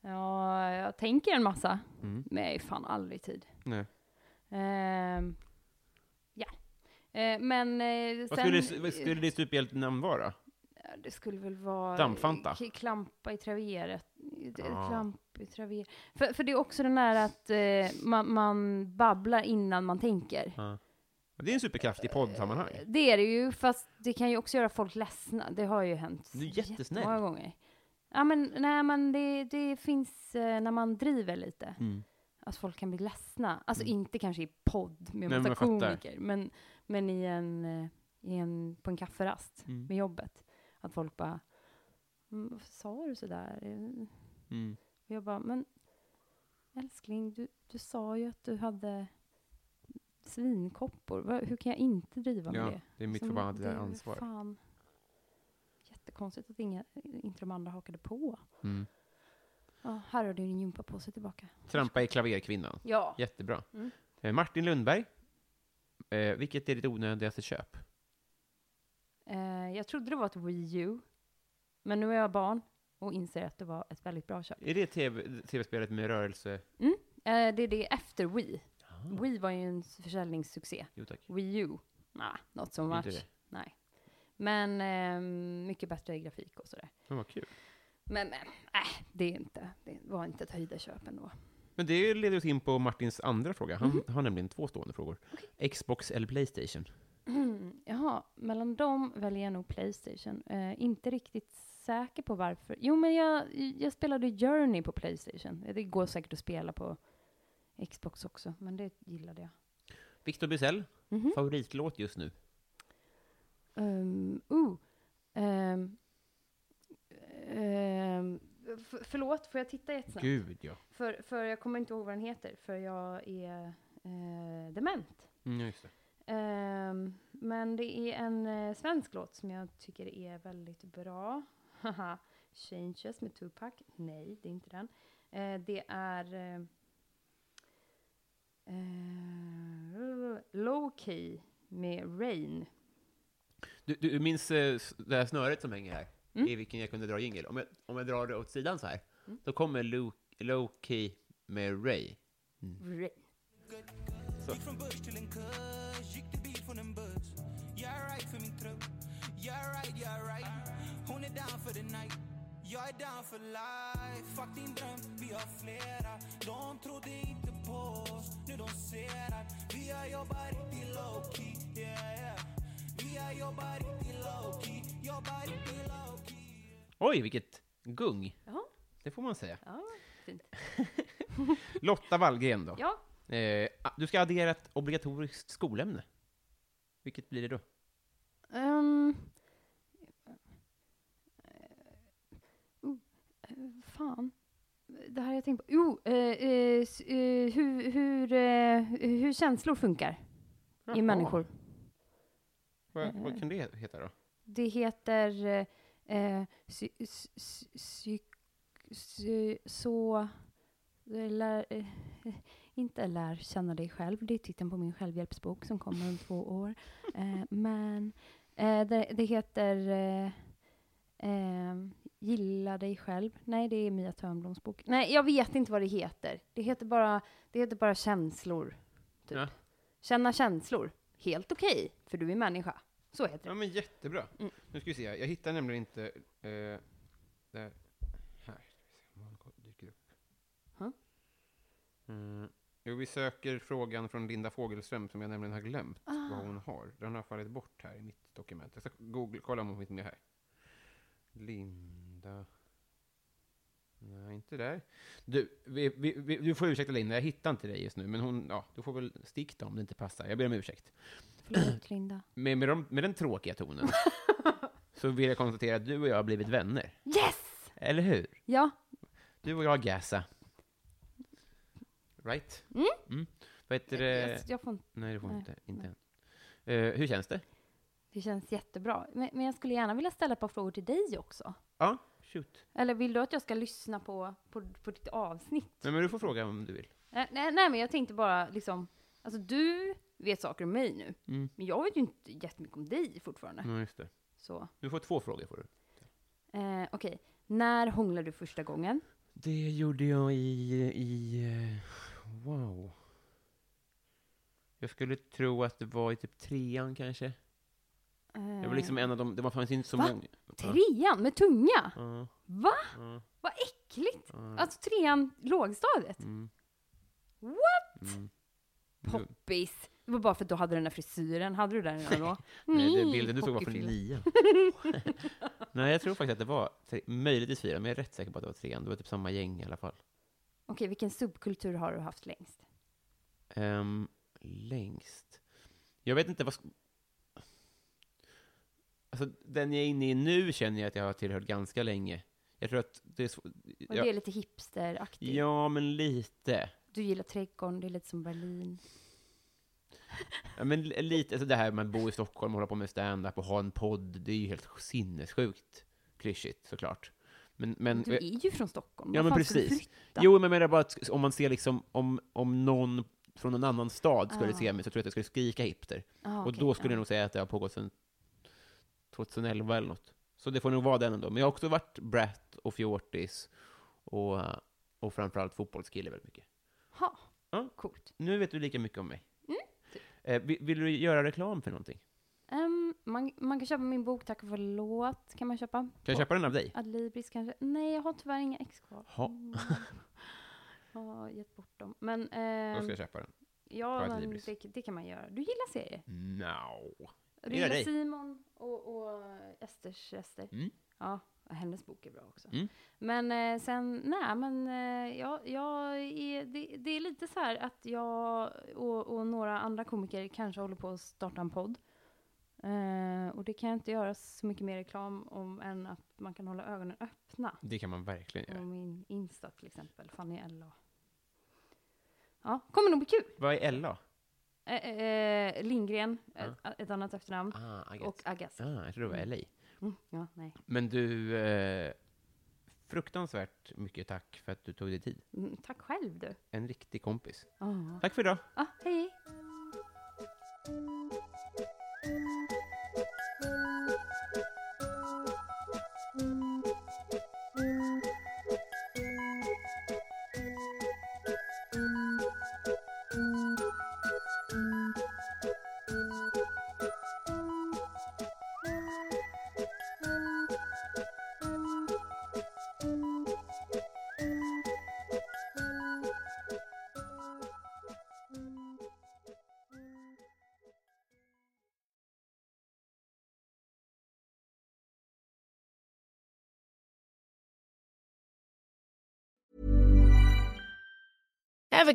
ja, jag tänker en massa, Mm. men jag är fan aldrig tid. Nej. Ehm, ja. Eh, men eh, Vad sen... skulle, vad skulle ditt superhjältenamn vara? eh, Det skulle väl vara... Dampfanta? k- Klampa i traveret. D- Ah. Klamp i traveret. För, för det är också den där att eh, man, man babblar innan man tänker. Det är en superkraft i poddsammanhang. Det är det ju, fast det kan ju också göra folk ledsna. Det har ju hänt. Du är jättesnäll. Många gånger. Ja, men, nej, men det, det finns eh, när man driver lite. Mm. Att folk kan bli ledsna. Alltså inte kanske i podd med Nej, massa men jag fattar. komiker, men, men i en, eh, i en, på en kafferast Mm. med jobbet. Att folk bara, "Mm, varför sa du sådär? Eh, Mm. Och jag bara, men älskling, du, du sa ju att du hade svinkoppor. Va- Hur kan jag inte driva med Ja, det? det är mitt Som- förbannade det är ansvar. Fan. Jättekonstigt att inga, inte de andra hakade på. Mm. Ja, här har du din gympapåse tillbaka. Trampa i klaverkvinnan. Ja. Jättebra. Mm. Eh, Martin Lundberg. Eh, vilket är ditt onödigaste köp? Eh, jag trodde det var ett Wii U, men nu är jag barn och inser att det var ett väldigt bra köp. Är det TV tv-spelet med rörelse? Eh, det är det efter Wii. Ah. Wii var ju en försäljningssuccé. Jo tack. Wii U, nah, not so Inte much. det. Nej. Men ehm, mycket bättre grafik och sådär. Men vad kul. Men, men äh, det, är inte, det var inte ett höjdarköp ändå. Men det leder oss in på Martins andra fråga. Han Mhm. har nämligen två stående frågor. Xbox eller Playstation? Jaha, mellan dem väljer jag nog Playstation. Eh, inte riktigt säker på varför. Jo, men jag, jag spelade Journey på Playstation. Det går säkert att spela på Xbox också, men det gillade jag. Victor Bysell, Mhm. favoritlåt just nu? Um, oh, ehm, ehm, f- förlåt, får jag titta jättesnabbt? Gud ja. För, för jag kommer inte ihåg vad den heter, för jag är eh, dement. Mm, ja, just det. Ehm, men det är en eh, svensk låt som jag tycker är väldigt bra. Haha, Changes med Tupac. Nej, det är inte den. Eh, det är eh, eh, Low Key med Rain. Du, du minns eh, s- det här snöret som hänger här? Mm. I vilken jag kunde dra jingel. Om jag, om jag drar det åt sidan så här, då kommer Lu- Loki med Ray. Rain. Oj, vilket gung! Jaha, Det får man säga. ja, fint. Lotta Wallgren då. Ja, Eh, a- du ska addera ett obligatoriskt skolämne. Vilket blir det då? Ehm. oh, eh, fan. Det här har jag tänkt på. Jo, eh, eh, s- eh, hur, hur, eh, hur känslor funkar i Jaha. människor. Mm. Vad, vad kan det heta då? Det heter eh, eh, sy, sy, sy, sy, sy, så... Lär, eh, inte lär känna dig själv, det är titeln på min självhjälpsbok som kommer om två år. Eh, men eh, det, det heter eh, eh, Gilla dig själv. Nej, det är Mia Törnbloms bok. Nej, jag vet inte vad det heter. Det heter bara, det heter bara känslor. Typ. Ja. Känna känslor. Helt okej, för du är människa. Så heter det. Ja men jättebra. Mm. Nu ska vi se, jag hittar nämligen inte... Eh, där. Här. Ska vi se om han dyker upp. Ja. Mm. Jo, vi söker frågan från Linda Fågelström som jag nämligen har glömt vad hon har. Den har fallit bort här i mitt dokument. Jag ska googla, kolla om hon finns med här. Linda... Nej, inte där. Du, vi, vi, vi, du får ursäkta Linda, jag hittar inte dig just nu. Men hon, ja, du får väl stick då om det inte passar. Jag ber om ursäkt. Förlåt, Linda. Med, med, de, med den tråkiga tonen så vill jag konstatera att du och jag har blivit vänner. Yes! Eller hur? Ja, Du och jag gasa. Right? Mm. Vad heter jag, det? jag får inte. Nej, det får Nej, inte. Inte än. Eh, hur känns det? Det känns jättebra. Men, men jag skulle gärna vilja ställa ett par frågor till dig också. Ja, shoot. Eller vill du att jag ska lyssna på, på, på ditt avsnitt? Nej, men du får fråga om du vill. Nej, nej, nej, men jag tänkte bara liksom, alltså du vet saker om mig nu, Mm. men jag vet ju inte jättemycket om dig fortfarande. Ja, just det. Så, Du får två frågor. Får du. eh, okej. När hånglade du första gången? Det gjorde jag i... i eh, wow. Jag skulle tro att det var i typ trean kanske. Eh, Det var liksom en av de... Det var fanns inte så Va? många. Trean med tunga? Ja, Va? ja, Vad äckligt! ja. Alltså trean, lågstadiet. Mm. What? Mm. Poppis! Det var bara för att du hade den där frisyren. Hade du den redan då? Mm, Nej, det bilden du såg var från hockeyfrilla. nian. Nej, jag tror faktiskt att det var tre, möjligtvis fyra, men jag är rätt säker på att det var trean. Det var typ samma gäng i alla fall. Okej, vilken subkultur har du haft längst? Ehm, längst. Jag vet inte vad... sk- Alltså, den jag är inne i nu känner jag att jag har tillhört ganska länge. Jag tror att det är svårt... Och det är Ja, lite hipsteraktigt. ja, men lite. Du gillar trädgården, det är lite som Berlin. Mm, Ja, men li- lite. Alltså det här med att bo i Stockholm, hålla på med stand-up och ha en podd, det är ju helt sinnessjukt klyschigt såklart. Men, men, Du är ju från Stockholm. Ja, Vad men fan ska du precis. flytta? Jo, men jag menar bara att om man ser liksom, om, om någon från en annan stad skulle Ah. se mig så tror jag att jag skulle skrika hipster. Ah, och okej, då skulle ja. jag nog säga att det har pågått sedan 2011 eller något. Så det får nog vara den ändå. Men jag har också varit brat och fjortis och, eh, och framförallt fotbollskille väldigt mycket. Ha, Ja. coolt. Nu vet du lika mycket om mig. Mm, typ. Eh, vill, vill du göra reklam för någonting? Ehm, man, man kan köpa min bok Tack och förlåt. Kan man köpa? Kan jag köpa den av dig? Adlibris kanske? Nej, jag har tyvärr inga ex kvar. Ha. Jag har gett bort dem. Men, Då ehm, ska jag köpa den. på ja, men Adlibris. det, det kan man göra. Du gillar serier? No. Du Jag gör gillar dig. Simon och, och Esters rester? Mm. Ja, och hennes bok är bra också. Mm. Men eh, sen, nej men eh, jag, jag är, det, det är lite så här att jag och, och några andra komiker kanske håller på att starta en podd. Eh, och det kan jag inte göra så mycket mer reklam om än att man kan hålla ögonen öppna. Det kan man verkligen På göra. min Insta till exempel, Fanny Ella. Ja, kommer nog bli kul. Vad är LA? Eh, eh, Lindgren, Ja. ett, ett annat efternamn. Ah, I och guess. Agassi. ah, jag tror det var LA. Mm, ja, nej. Men du, eh, fruktansvärt mycket tack för att du tog dig tid. Mm, tack själv du. En riktig kompis. Ja. Tack för idag! Ah, hej, hej. Ever